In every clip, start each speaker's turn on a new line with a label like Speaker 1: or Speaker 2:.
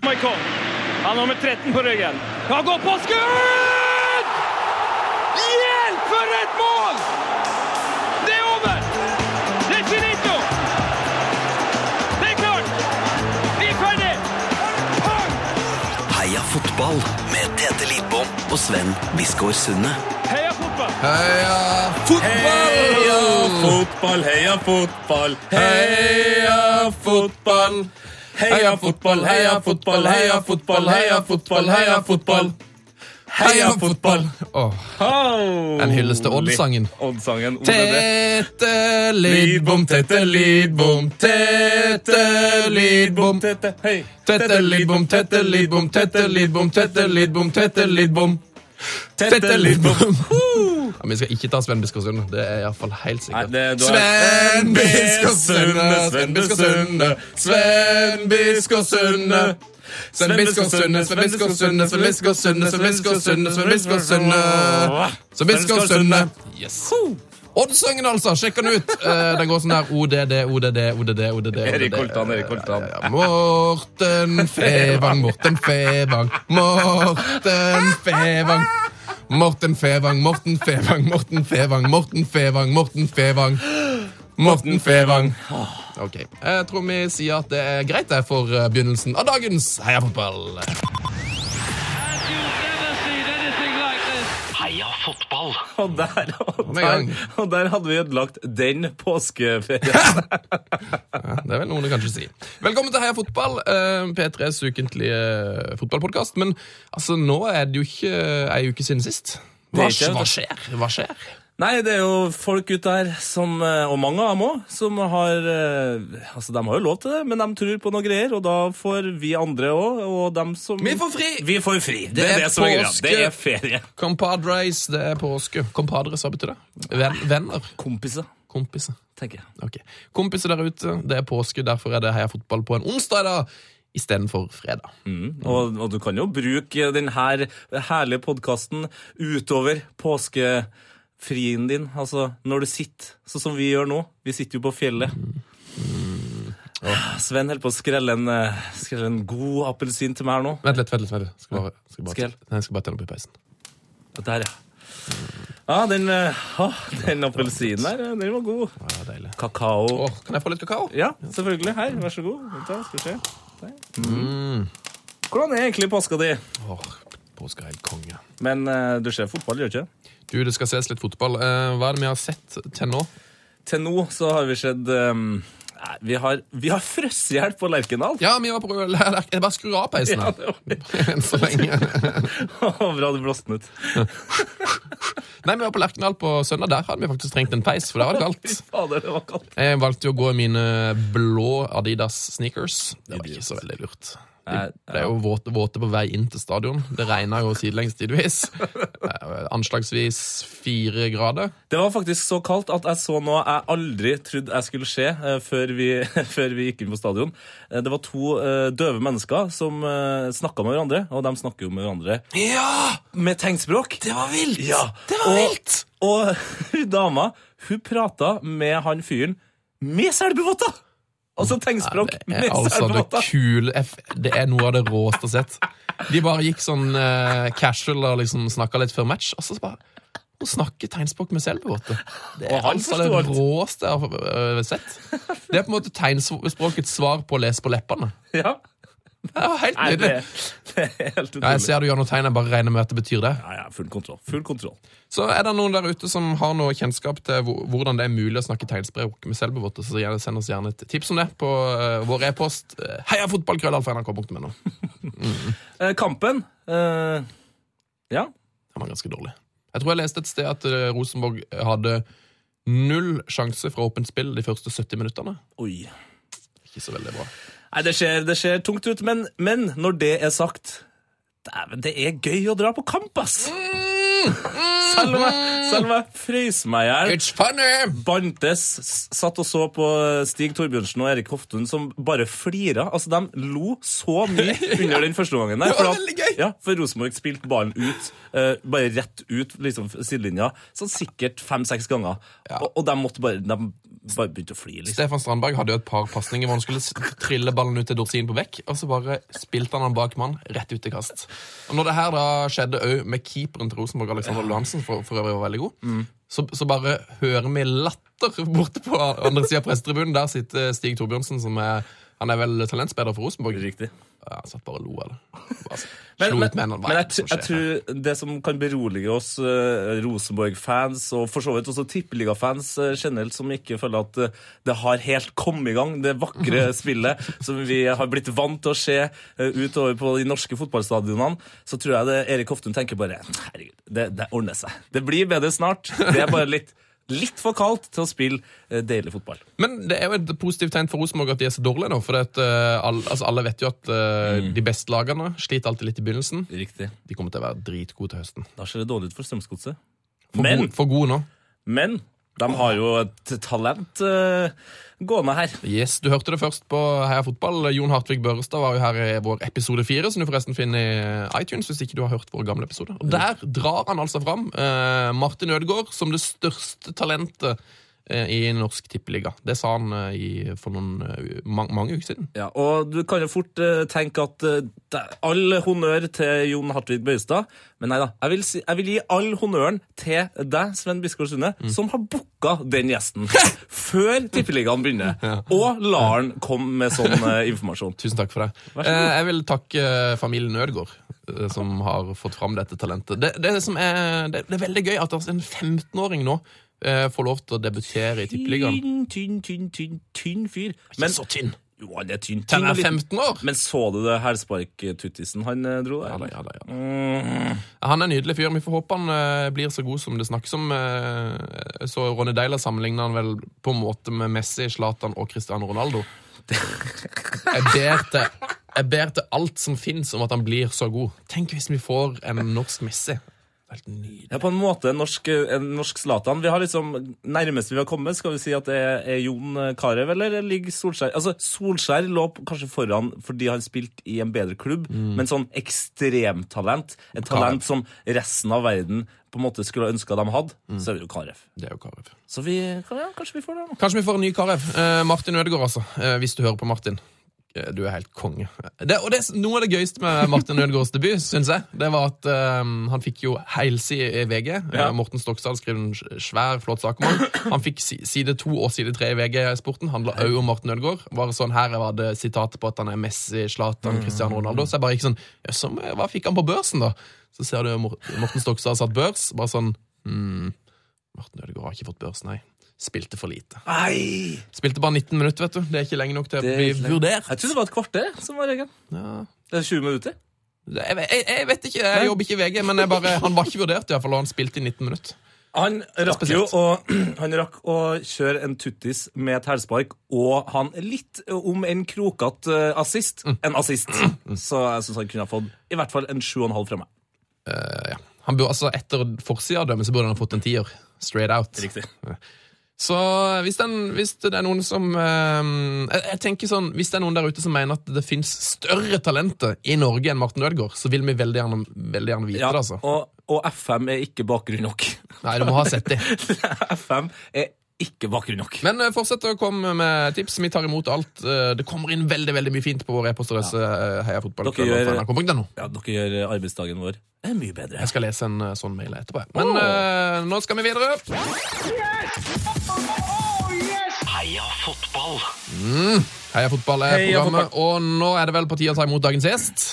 Speaker 1: kom. Han har nummer 13 på ryggen. Han går på skudd! Hjelp for et mål! Det er over! Det er finito! Det er klart! Vi er ferdig!
Speaker 2: Heia fotball med Tete Lidbom og Sven Biskår Sunde.
Speaker 1: Heia fotball!
Speaker 3: Heia fotball!
Speaker 4: Heia fotball, heia fotball,
Speaker 3: Heia fotball!
Speaker 4: heia fotball, heia fotball, heia fotball, heia fotball, heia fotball. Heia fotball!
Speaker 3: Åh, En hyllest til Odd-sangen.
Speaker 4: Odd-sangen, Ole D.
Speaker 3: Tete Lidbom, Tete Lidbom, Tete Lidbom.
Speaker 4: Tete, hei.
Speaker 3: Tete Lidbom, Tete Lidbom, Tete Lidbom, Tete Lidbom, Tete Lidbom. Tete Lidbom. Ja, vi skal ikke ta Sven Biskår Sunde. Det er iallfall
Speaker 4: Nei,
Speaker 3: helt sikkert.
Speaker 4: det- du har-
Speaker 3: Sven Biskår Sunde, Sven Biskår Sunde, Sven Biskår Sunde. Sven Biskår Sunde, Sven Biskår Sunde, Sven Biskår Sunde, Sven Biskår Sunde, Sven Biskår Sunde. Sven Biskår Sunde. Yes. Odd-sangen, altså! Sjekk den ut. Eh, den går sånn der ODD, ODD, ODD, ODD.
Speaker 4: Erik Holtan, Erik Holtan.
Speaker 3: Ja, ja, ja. Morten Fevang, Morten Fevang, Morten Fevang. Morten Fevang, Morten Fevang, Morten Fevang, Morten Fevang, Morten Fevang. Morten Fevang. Ok, Jeg tror vi sier at det er greit det for eh, begynnelsen av dagens Heia fotball.
Speaker 5: Had you ever seen anything like this?
Speaker 2: Heia fotball.
Speaker 4: Og der, og
Speaker 3: Med gang.
Speaker 4: der, og der hadde vi ødelagt den påskeferien.
Speaker 3: Ja, Det er vel noen det kanskje si. Velkommen til Heia fotball, eh, P3s ukentlige fotballpodkast. Men altså, nå er det jo ikke eh, ei uke siden sist.
Speaker 4: Det
Speaker 3: Hva,
Speaker 4: er ikke det.
Speaker 3: hva skjer? Hva skjer?
Speaker 4: Nei, det er jo folk ute der, som, eh, og mange av dem òg, som har eh, Altså, de har jo lov til det, men de tror på noe greier, og da får vi andre òg, og dem som
Speaker 3: Vi får fri!
Speaker 4: Vi får fri! Det,
Speaker 3: Det
Speaker 4: er
Speaker 3: er
Speaker 4: det som er greia.
Speaker 3: påske.
Speaker 4: Det er ferie.
Speaker 3: Compadres, det er påske. Compadres, hva betyr det? Ven, venner.
Speaker 4: Kompiser,
Speaker 3: Kompiser.
Speaker 4: tenker jeg.
Speaker 3: Ok. Kompiser der ute, det er påske, derfor er det heia fotball på en onsdag i dag istedenfor fredag.
Speaker 4: Og, og du kan jo bruke denne herlige podkasten utover påskefrien din. Altså når du sitter, sånn som vi gjør nå. Vi sitter jo på fjellet. Ah, Sven holder på å skrelle en, eh, skrelle en god appelsin til meg her nå.
Speaker 3: Vent litt, vent litt. vent litt. Skal bare, skal bare,
Speaker 4: Skrell.
Speaker 3: Nei, jeg skal bare tenne opp i peisen.
Speaker 4: Og Der, ja. Ja, den, eh, ah, den appelsinen der, eh, den var god.
Speaker 3: Ja, det er deilig.
Speaker 4: Kakao.
Speaker 3: Åh, kan jeg få litt kakao?
Speaker 4: Ja, selvfølgelig. Her, vær så god. Vent da, skal vi se. Der. Mm. Hvordan er egentlig påska di?
Speaker 3: Åh, påske er helt konge.
Speaker 4: Men eh, du ser fotball, gjør du ikke?
Speaker 3: Du, det skal ses litt fotball. Eh, hva er det vi har sett til nå?
Speaker 4: Til nå så har vi sett ehm, nei, Vi har, vi har frøshjelp på Lerkendal.
Speaker 3: Ja, vi var på Royal Lærk. Jeg bare skrur av peisen
Speaker 4: Ja,
Speaker 3: her.
Speaker 4: det var
Speaker 3: Enn så lenge.
Speaker 4: Bra du blåste den ut.
Speaker 3: Nei, vi var på Lerkendal på søndag. Der hadde vi faktisk trengt en peis, for det var
Speaker 4: Fy
Speaker 3: kaldt.
Speaker 4: fader, det var kaldt.
Speaker 3: Jeg valgte jo å gå i mine blå Adidas sneakers. Det var ikke så veldig lurt. De
Speaker 4: Nei,
Speaker 3: ble jo våte, våte på vei inn til stadion. Det regna jo sidelengs tidvis. Eh, Anslagsvis fire grader.
Speaker 4: Det var faktisk så kaldt at jeg så noe jeg aldri trodde jeg skulle skje eh, før, vi, før vi gikk inn på stadion. Eh, det var to eh, døve mennesker som uh, snakka med hverandre, og de snakker jo med hverandre
Speaker 3: Ja!
Speaker 4: med tegnspråk.
Speaker 3: Det var vilt!
Speaker 4: Ja,
Speaker 3: Det var
Speaker 4: og,
Speaker 3: vilt!
Speaker 4: Og hun dama hun prata med han fyren med selbuvotter! Altså tegnspråk
Speaker 3: Eh,
Speaker 4: med
Speaker 3: Altså, det
Speaker 4: selbuvotter.
Speaker 3: kule eff- Det er noe av det råeste jeg har sett. De bare gikk sånn eh, casual og liksom snakka litt før match, og så bare Hun snakker tegnspråk med selvbevåte. Det
Speaker 4: Og
Speaker 3: er
Speaker 4: han
Speaker 3: altså det
Speaker 4: forstår alt.
Speaker 3: råeste jeg har eh, sett. Det er på en måte tegnspråkets svar på å lese på leppene.
Speaker 4: Ja.
Speaker 3: Det var helt
Speaker 4: Nei, det,
Speaker 3: nydelig.
Speaker 4: det er helt
Speaker 3: Ja, jeg
Speaker 4: utrolig.
Speaker 3: ser du gjør noe tegn, jeg bare regner med at det betyr det.
Speaker 4: Ja, ja, full kontroll. Full kontroll.
Speaker 3: Så er det noen der ute som har noe kjennskap til hvor- hvordan det er mulig å snakke tegnspråk med selvbevåte, så gjerne send oss gjerne et tips om det på eh, vår e-post uh, heiafotballkrøllalfa.nrk.no.
Speaker 4: Eh, kampen eh, Ja.
Speaker 3: Den var ganske dårlig. Jeg tror jeg leste et sted at eh, Rosenborg hadde null sjanse fra åpent spill de første 70 minuttene.
Speaker 4: Oi.
Speaker 3: Ikke så veldig bra.
Speaker 4: Nei, det ser, det ser tungt ut, men, men når det er sagt Dæven, det er gøy å dra på kamp, ass!
Speaker 3: Mm,
Speaker 4: Selv om jeg- selv om jeg frøs meg i hjel.
Speaker 3: It's funny!
Speaker 4: Bantes s- satt og så på Stig Torbjørnsen og Erik Hoftun som bare flira. Altså, De lo så mye under den første omgangen. der.
Speaker 3: Det var
Speaker 4: for at-
Speaker 3: veldig gøy.
Speaker 4: Ja, For Rosenborg spilte ballen ut, eh, bare rett ut liksom sidelinja, sånn sikkert fem-seks ganger. Og, og de måtte bare De bare begynte å flire, liksom.
Speaker 3: Stefan Strandberg hadde jo et par pasninger hvor han skulle s- trille ballen ut til Dorsin på vekk, og så bare spilte han den bak mann, rett ut til kast. Og når det her da skjedde òg med keeperen til Rosenborg, Alexander Lohansen, for, for øvrig var veldig god, så, så bare hører vi latter borte på andre sida av pressetribunen. Der sitter Stig Torbjørnsen, som er han er vel talentspeider for Rosenborg?
Speaker 4: Riktig.
Speaker 3: Ja, han satt bare og lo av det. Bare s-
Speaker 4: Men,
Speaker 3: Slo
Speaker 4: men,
Speaker 3: ut med
Speaker 4: men
Speaker 3: hendene. Hva er
Speaker 4: jeg, tr- jeg
Speaker 3: det Sånn som skjer her?
Speaker 4: tror det som kan berolige oss eh, Rosenborg-fans, og for så vidt også Tippeliga-fans eh, generelt, som ikke føler at eh, det har helt kommet i gang, det vakre spillet som vi har blitt vant til å se eh, utover på de norske fotballstadionene, så tror jeg det Erik Hoftun tenker bare Herregud, det, det ordner seg. Det blir bedre snart. Det er bare litt, litt for kaldt til å spille eh, deilig fotball.
Speaker 3: Men det er jo et positivt tegn for Rosenborg at de er så dårlige nå. For at, eh, alle- altså, alle vet jo at eh, de beste lagene sliter alltid litt i begynnelsen.
Speaker 4: Riktig.
Speaker 3: De kommer til å være dritgode til høsten.
Speaker 4: Da ser det dårlig ut for Strømsgodset.
Speaker 3: For,
Speaker 4: Men-
Speaker 3: gode, for gode nå.
Speaker 4: Men de har jo et talent eh, gående her.
Speaker 3: Yes, Du hørte det først på Heia Fotball. Jon Hartvig Børrestad var jo her i vår episode fire, som du forresten finner i eh, iTunes hvis ikke du har hørt vår gamle episode. Og Der drar han altså fram eh, Martin Ødegaard som det største talentet eh, i norsk tippeliga. Det sa han eh, i, for noen, eh, mang- mange uker siden.
Speaker 4: Ja, og du kan jo fort eh, tenke at eh, det er all honnør til Jon Hartvig Bøystad, men nei da. Jeg vil, si, jeg vil gi all honnøren til deg, Sven Biskår Sunde,
Speaker 3: Mm.
Speaker 4: som har booka den gjesten før Tippeligaen begynner, og lar han komme med sånn eh, informasjon.
Speaker 3: Tusen takk for det.
Speaker 4: Vær så god.
Speaker 3: Eh, jeg vil takke familien Ødegaard, eh, som har fått fram dette talentet. Det, det, som er, det, det er veldig gøy at altså en 15-åring nå eh, får lov til å debutere i Tippeligaen.
Speaker 4: Tynn, tynn, tynn, tynn, tynn fyr. Men,
Speaker 3: så tynn!
Speaker 4: jo, han er tynn.
Speaker 3: Han
Speaker 4: tynn
Speaker 3: er
Speaker 4: liten.
Speaker 3: 15 år!
Speaker 4: Men så du det hælsparktuttisen han eh, dro
Speaker 3: Ja, da,
Speaker 4: der?
Speaker 3: ja, da, ja. da.
Speaker 4: Mm.
Speaker 3: Han er en nydelig fyr. Vi får håpe han eh, blir så god som det snakkes om. eh, så Ronny Deila sammenligner han vel på en måte med Messi, Zlatan og Cristiano Ronaldo. Jeg ber til, jeg ber til alt som fins om at han blir så god. Tenk hvis vi får en norsk Messi. Helt nydelig.
Speaker 4: Ja, på en måte en norsk, en norsk Zlatan. Vi har liksom, Nærmest vi har kommet, skal vi si at det er, er Jon eh, Carew, eller ligger Solskjær Altså, Solskjær lå p- kanskje foran fordi han spilte i en bedre klubb, men sånn ekstremtalent, et talent som resten av verden på en måte skulle ønska de hadde, så er det jo Carew.
Speaker 3: Det er jo Karev.
Speaker 4: Så vi, ja, kanskje vi får det nå.
Speaker 3: Kanskje vi får en ny Karev. Eh, Martin Ødegaard, altså. Eh, hvis du hører på Martin. Eh, du er helt konge. Det, og det, er s- noe av det gøyeste med Martin Ødegaards debut, syns jeg, det var at eh, han fikk jo helside i VG. Eh,
Speaker 4: Ja.
Speaker 3: Morten Stokstad skrev en s- svær, flott sak om ham. Han fikk si, side to og side tre i VG-sporten. Handla òg om Martin Ødegaard. Bare sånn her var det sitatet på at han er Messi, Zlatan, Cristiano Ronaldo. Så jeg bare gikk sånn «Ja, så Hva fikk han på børsen, da? Så ser du Mor- Morten Stokstad har satt børs. Bare sånn hmm, Martin Ødegaard har ikke fått børs, nei. Spilte for lite.
Speaker 4: Nei!
Speaker 3: Spilte bare 19 minutter, vet du. Det er ikke lenge nok til å
Speaker 4: Det er
Speaker 3: bli
Speaker 4: ikke lenge.
Speaker 3: vurdert.
Speaker 4: Jeg trodde det var et kvarter som var regelen.
Speaker 3: Ja.
Speaker 4: Det er 20 minutter.
Speaker 3: Jeg, jeg, jeg vet ikke, jeg jobber ikke i VG, men jeg bare, han var ikke vurdert, i hvert fall, og han spilte i 19 minutter.
Speaker 4: Han rakk jo
Speaker 3: Spesielt.
Speaker 4: å, han rakk å kjøre en tuttis med et hælspark og han litt eh, om en krokete eh, assist.
Speaker 3: Mm.
Speaker 4: En assist. Så jeg syns han kunne ha fått i hvert fall en sju og en halv fra meg.
Speaker 3: Han burde, altså, etter forsidedømme så burde han ha fått en tier. Straight out.
Speaker 4: Riktig.
Speaker 3: Så hvis, den, hvis det er noen som eh, jeg, jeg tenker sånn, Hvis det er noen der ute som mener at det fins større talenter i Norge enn Martin Ødegaard, så vil vi veldig gjerne, veldig gjerne vite
Speaker 4: Ja,
Speaker 3: det. altså.
Speaker 4: og, og FM er ikke bakgrunn nok.
Speaker 3: Nei, du må ha sett det.
Speaker 4: FM er ikke bakgrunn nok.
Speaker 3: Men eh, fortsett å komme med tips. Vi tar imot alt. Eh, Det kommer inn veldig veldig mye fint på vår e-postadresse. eh, Heia fotball.
Speaker 4: Dere gjør-
Speaker 3: NRK.no.
Speaker 4: Ja, Dere gjør arbeidsdagen vår eh, mye bedre.
Speaker 3: Jeg skal lese en eh, sånn mail etterpå. jeg. Men
Speaker 4: Åh.
Speaker 3: eh, nå skal vi videre.
Speaker 2: Heia fotball!
Speaker 3: Mm. Heia fotball er
Speaker 4: Heia
Speaker 3: programmet, og nå er det vel på tide å ta imot dagens gjest.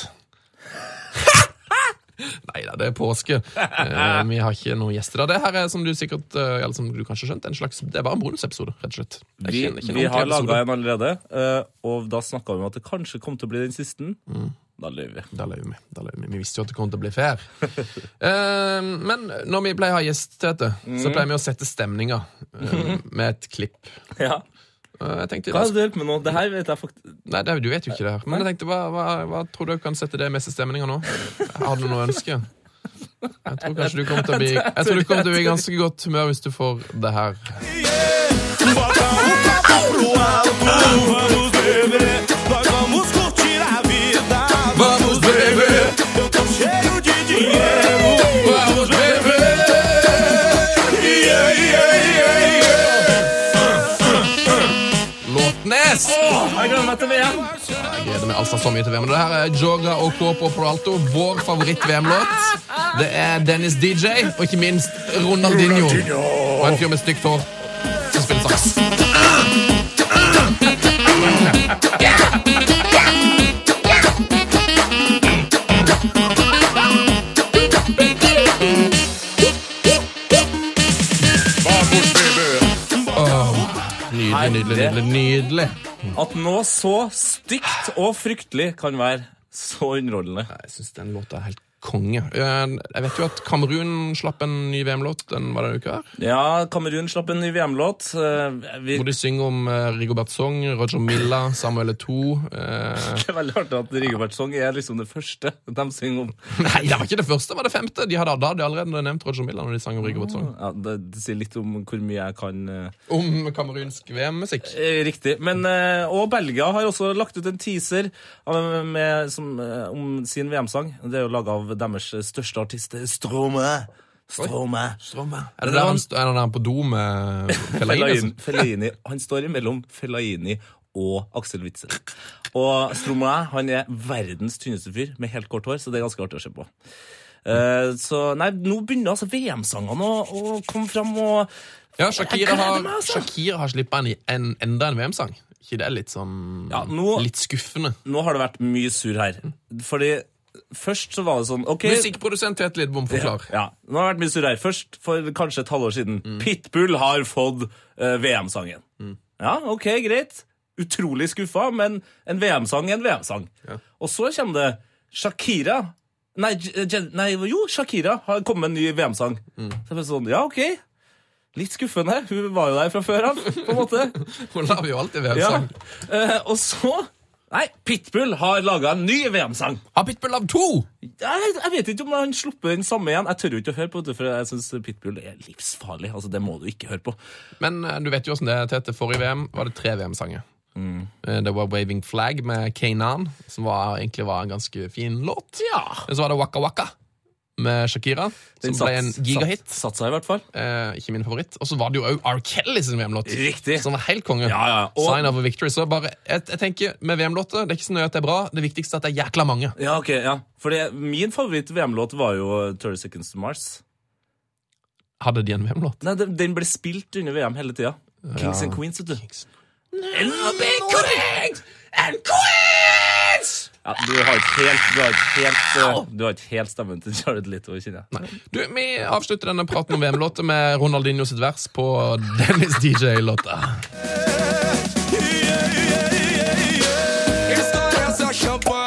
Speaker 3: Nei da, det er påske. Eh, Vi har ikke noen gjester. da. Det her er som du sikkert eh, eller som du kanskje skjønte, en slags, det er bare en bonusepisode. rett og slett. Jeg
Speaker 4: Vi,
Speaker 3: kjenner ikke
Speaker 4: vi
Speaker 3: noen
Speaker 4: har
Speaker 3: til episode.
Speaker 4: laga en allerede, eh, og da snakka vi om at det kanskje kom til å bli den siste.
Speaker 3: Mm.
Speaker 4: Da løy vi.
Speaker 3: Da løy vi. Da løy vi. vi visste jo at det kom til å bli fair. Eh, men når vi pleier å ha gjest, Tete, så pleier vi å sette stemninga eh, med et klipp.
Speaker 4: Ja.
Speaker 3: Eh, jeg tenkte,
Speaker 4: Hva er det du hjelper med nå? Det her vet jeg faktisk
Speaker 3: Nei, det, Du vet jo ikke det her. Men jeg tenkte, hva, hva, hva tror du kan sette det mest i stemninga nå? Har du noe ønske? Jeg tror kanskje du kommer til å bli, jeg tror du kommer til å bli i ganske godt humør hvis du får det her. Vamos, baby! Vamos, baby! Låtnes!
Speaker 4: Jeg gleder meg til VM!
Speaker 3: Jeg gleder meg altså så mye til VM. Og Det her er Joga og Kåpo Peralto, vår favoritt-VM-låt. Det er Dennis DJ, og ikke minst Ronaldinho. Og en fyr med stygt hår som spiller saks. Åh, Nydelig, nydelig, nydelig. nydelig.
Speaker 4: At noe så stygt og fryktelig kan være så underholdende.
Speaker 3: Jeg syns den låta er helt konge. Eh, Jeg vet jo at Kamerun slapp en ny VM-låt den var denne uka. her,
Speaker 4: Ja, Kamerun slapp en ny VM-låt. Eh, Vi
Speaker 3: Hvor de synger om eh, Rigobert Song, Roger Milla, Samuel Eto'o eh,
Speaker 4: Det er veldig artig at Rigobert Song er liksom det første de synger om.
Speaker 3: Nei, det var ikke det første, det var det femte! De hadde, da hadde de allerede nevnt Roger Milla når de sang om Rigobert Song.
Speaker 4: Ja, det, det sier litt om hvor mye jeg kan eh.
Speaker 3: Ah. Om kamerunsk VM-musikk.
Speaker 4: Eh, Riktig. Men, eh, og Belgia har også lagt ut en teaser av- med, som, eh, om sin VM-sang. Det er jo laga av deres største artist, Strome. Strome.
Speaker 3: Er det der han, st- er det der han på do med Fellaini?
Speaker 4: Fellaini,
Speaker 3: altså?
Speaker 4: Fellaini. Han står imellom Fellaini og Aksel Witzel. Og Stromae han er verdens tynneste fyr med helt kort hår, så det er ganske artig å se på. Eh, så nei, nå begynner altså VM-sangene å, å komme fram, og
Speaker 3: Ja, Shakira
Speaker 4: Jeg gleder
Speaker 3: har,
Speaker 4: meg, altså.
Speaker 3: Shakira har slippa en, en, enda en VM-sang. Ikke det er litt sånn
Speaker 4: Ja, nå-
Speaker 3: Litt skuffende.
Speaker 4: nå har det vært mye sur her. Fordi først så var det sånn ok...
Speaker 3: Musikkprodusent Tete Lidbom, forklar.
Speaker 4: Ja, nå har det vært mye surr her. Først for kanskje et halvår siden. Pitbull har fått eh, VM-sangen. Ja, ok, greit. Utrolig skuffa, men en VM-sang er en VM-sang. Og så kommer det Shakira. Nei, J- eh, Jen- nei, jo, Shakira har kommet med en ny VM-sang. Så det er bare sånn, ja, ok. Litt skuffende. Hun var jo der fra før av, på en måte.
Speaker 3: Hun lager jo alltid
Speaker 4: Ja.
Speaker 3: VM-sang.
Speaker 4: Eh, og så Nei, Pitbull har laga en ny VM-sang.
Speaker 3: Har Pitbull lagd to?
Speaker 4: Jeg, jeg vet ikke om han slipper den samme igjen. Jeg tør jo ikke å høre på det, for jeg syns Pitbull er livsfarlig. Altså, Det må du ikke høre på.
Speaker 3: Men eh, du vet jo hvordan det er Tete. Forrige VM var det tre VM-sanger.
Speaker 4: Mm.
Speaker 3: Eh, Det var Waving Flag med Kanan, som var, egentlig var en ganske fin låt.
Speaker 4: Ja.
Speaker 3: Og så var det Waka Waka med Shakira, som ble en gigahit.
Speaker 4: Satt, satt seg i hvert fall.
Speaker 3: Eh, ikke min favoritt. Og så var det jo òg R. Kelly sin VM-låt.
Speaker 4: Riktig.
Speaker 3: Som var helt konge.
Speaker 4: Ja, ja, og-
Speaker 3: Sign of a victory. Så bare, jeg, jeg tenker, med VM-låter, det er ikke så nøye at det er bra. Det viktigste er at det er jækla mange.
Speaker 4: Ja, ok, ja. Fordi min favoritt-VM-låt var jo 30 Seconds to Mars.
Speaker 3: Hadde de en VM-låt?
Speaker 4: Nei, den, den ble spilt under VM hele tida. Kings and Queens, vet du. Ja, du har ikke helt, du har ikke helt, eh, du har ikke helt stemmen til Jared Little, kjenner jeg.
Speaker 3: Du, Vi avslutter denne praten om VM-låter med Ronaldinho sitt vers på Dennis DJ-låta.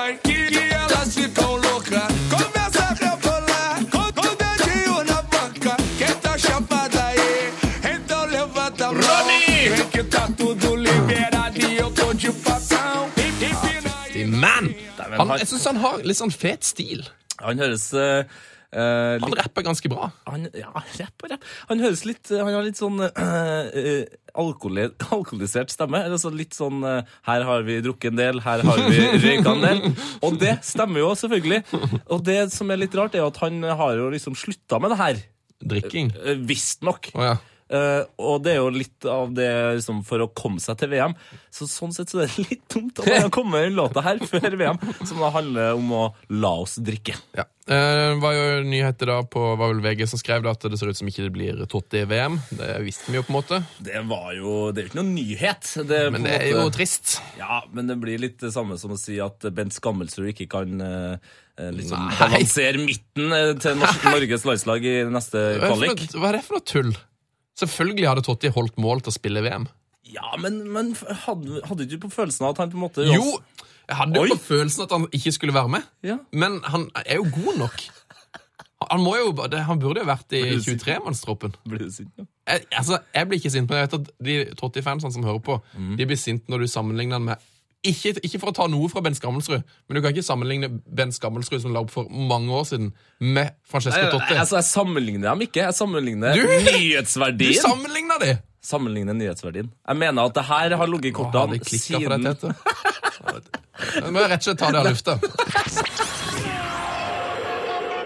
Speaker 3: Man! Han, jeg syns han har litt sånn fet stil.
Speaker 4: Han høres eh, eh, litt
Speaker 3: Han rapper ganske bra.
Speaker 4: han, ja, rapp og rapp. Han høres litt Han har litt sånn eh, eh, alkoholi- alkoholisert stemme. Eller så litt sånn eh, Her har vi drukket en del, her har vi røyka en del. Og det stemmer jo, selvfølgelig. Og det som er litt rart, er jo at han har jo liksom slutta med det her.
Speaker 3: Drikking.
Speaker 4: eh, Visstnok.
Speaker 3: Å ja.
Speaker 4: Eh, og det er jo litt av det liksom, for å komme seg til VM. Så sånn sett så er det litt dumt at han har kommet med den låta her før VM, som da handler om å la oss drikke.
Speaker 3: Ja. Eh, var jo nyheter da på var vel VG som skrev det at det ser ut som ikke det blir Totti i VM. Det visste vi jo, på en måte.
Speaker 4: Det var jo Det er jo ikke noen nyhet. Det er på en
Speaker 3: Men det er
Speaker 4: måte-
Speaker 3: jo trist.
Speaker 4: Ja, men det blir litt det samme som å si at Bent Skammelsrud ikke kan eh, eh, liksom
Speaker 3: Nei.
Speaker 4: balansere midten eh, til norsk, Norges landslag i neste
Speaker 3: Hva er, det
Speaker 4: kvalik.
Speaker 3: for noe, hva er det for noe tull? Selvfølgelig hadde Totti holdt mål til å spille i VM.
Speaker 4: Ja, men, men hadde, hadde du ikke på følelsen av at han på en måte
Speaker 3: Jo, jeg hadde
Speaker 4: Oi.
Speaker 3: jo på følelsen at han ikke skulle være med,
Speaker 4: Ja.
Speaker 3: men han er jo god nok. Han, må jo, det- han burde jo vært i
Speaker 4: Blir du sikker?
Speaker 3: 23-mannstroppen.
Speaker 4: Blir du sint nå?
Speaker 3: Jeg, sånn
Speaker 4: Mm.
Speaker 3: altså, jeg blir ikke sint, men jeg vet at de Totti-fansene som hører på, de blir sint når du sammenligner han med ikke, ikke for å ta noe fra Ben Skammelsrud, men du kan ikke sammenligne Ben Skammelsrud som la opp for mange år siden, med Francesco Totti.
Speaker 4: Altså, jeg sammenligner dem ikke. Jeg sammenligner
Speaker 3: Du- Du
Speaker 4: nyhetsverdien.
Speaker 3: sammenligna de!
Speaker 4: Sammenligner nyhetsverdien. Jeg mener at det her har ligget i
Speaker 3: Å, har
Speaker 4: kortene
Speaker 3: de klikka for
Speaker 4: siden
Speaker 3: deg, Tete? Nå må jeg rett og slett ta det av lufta.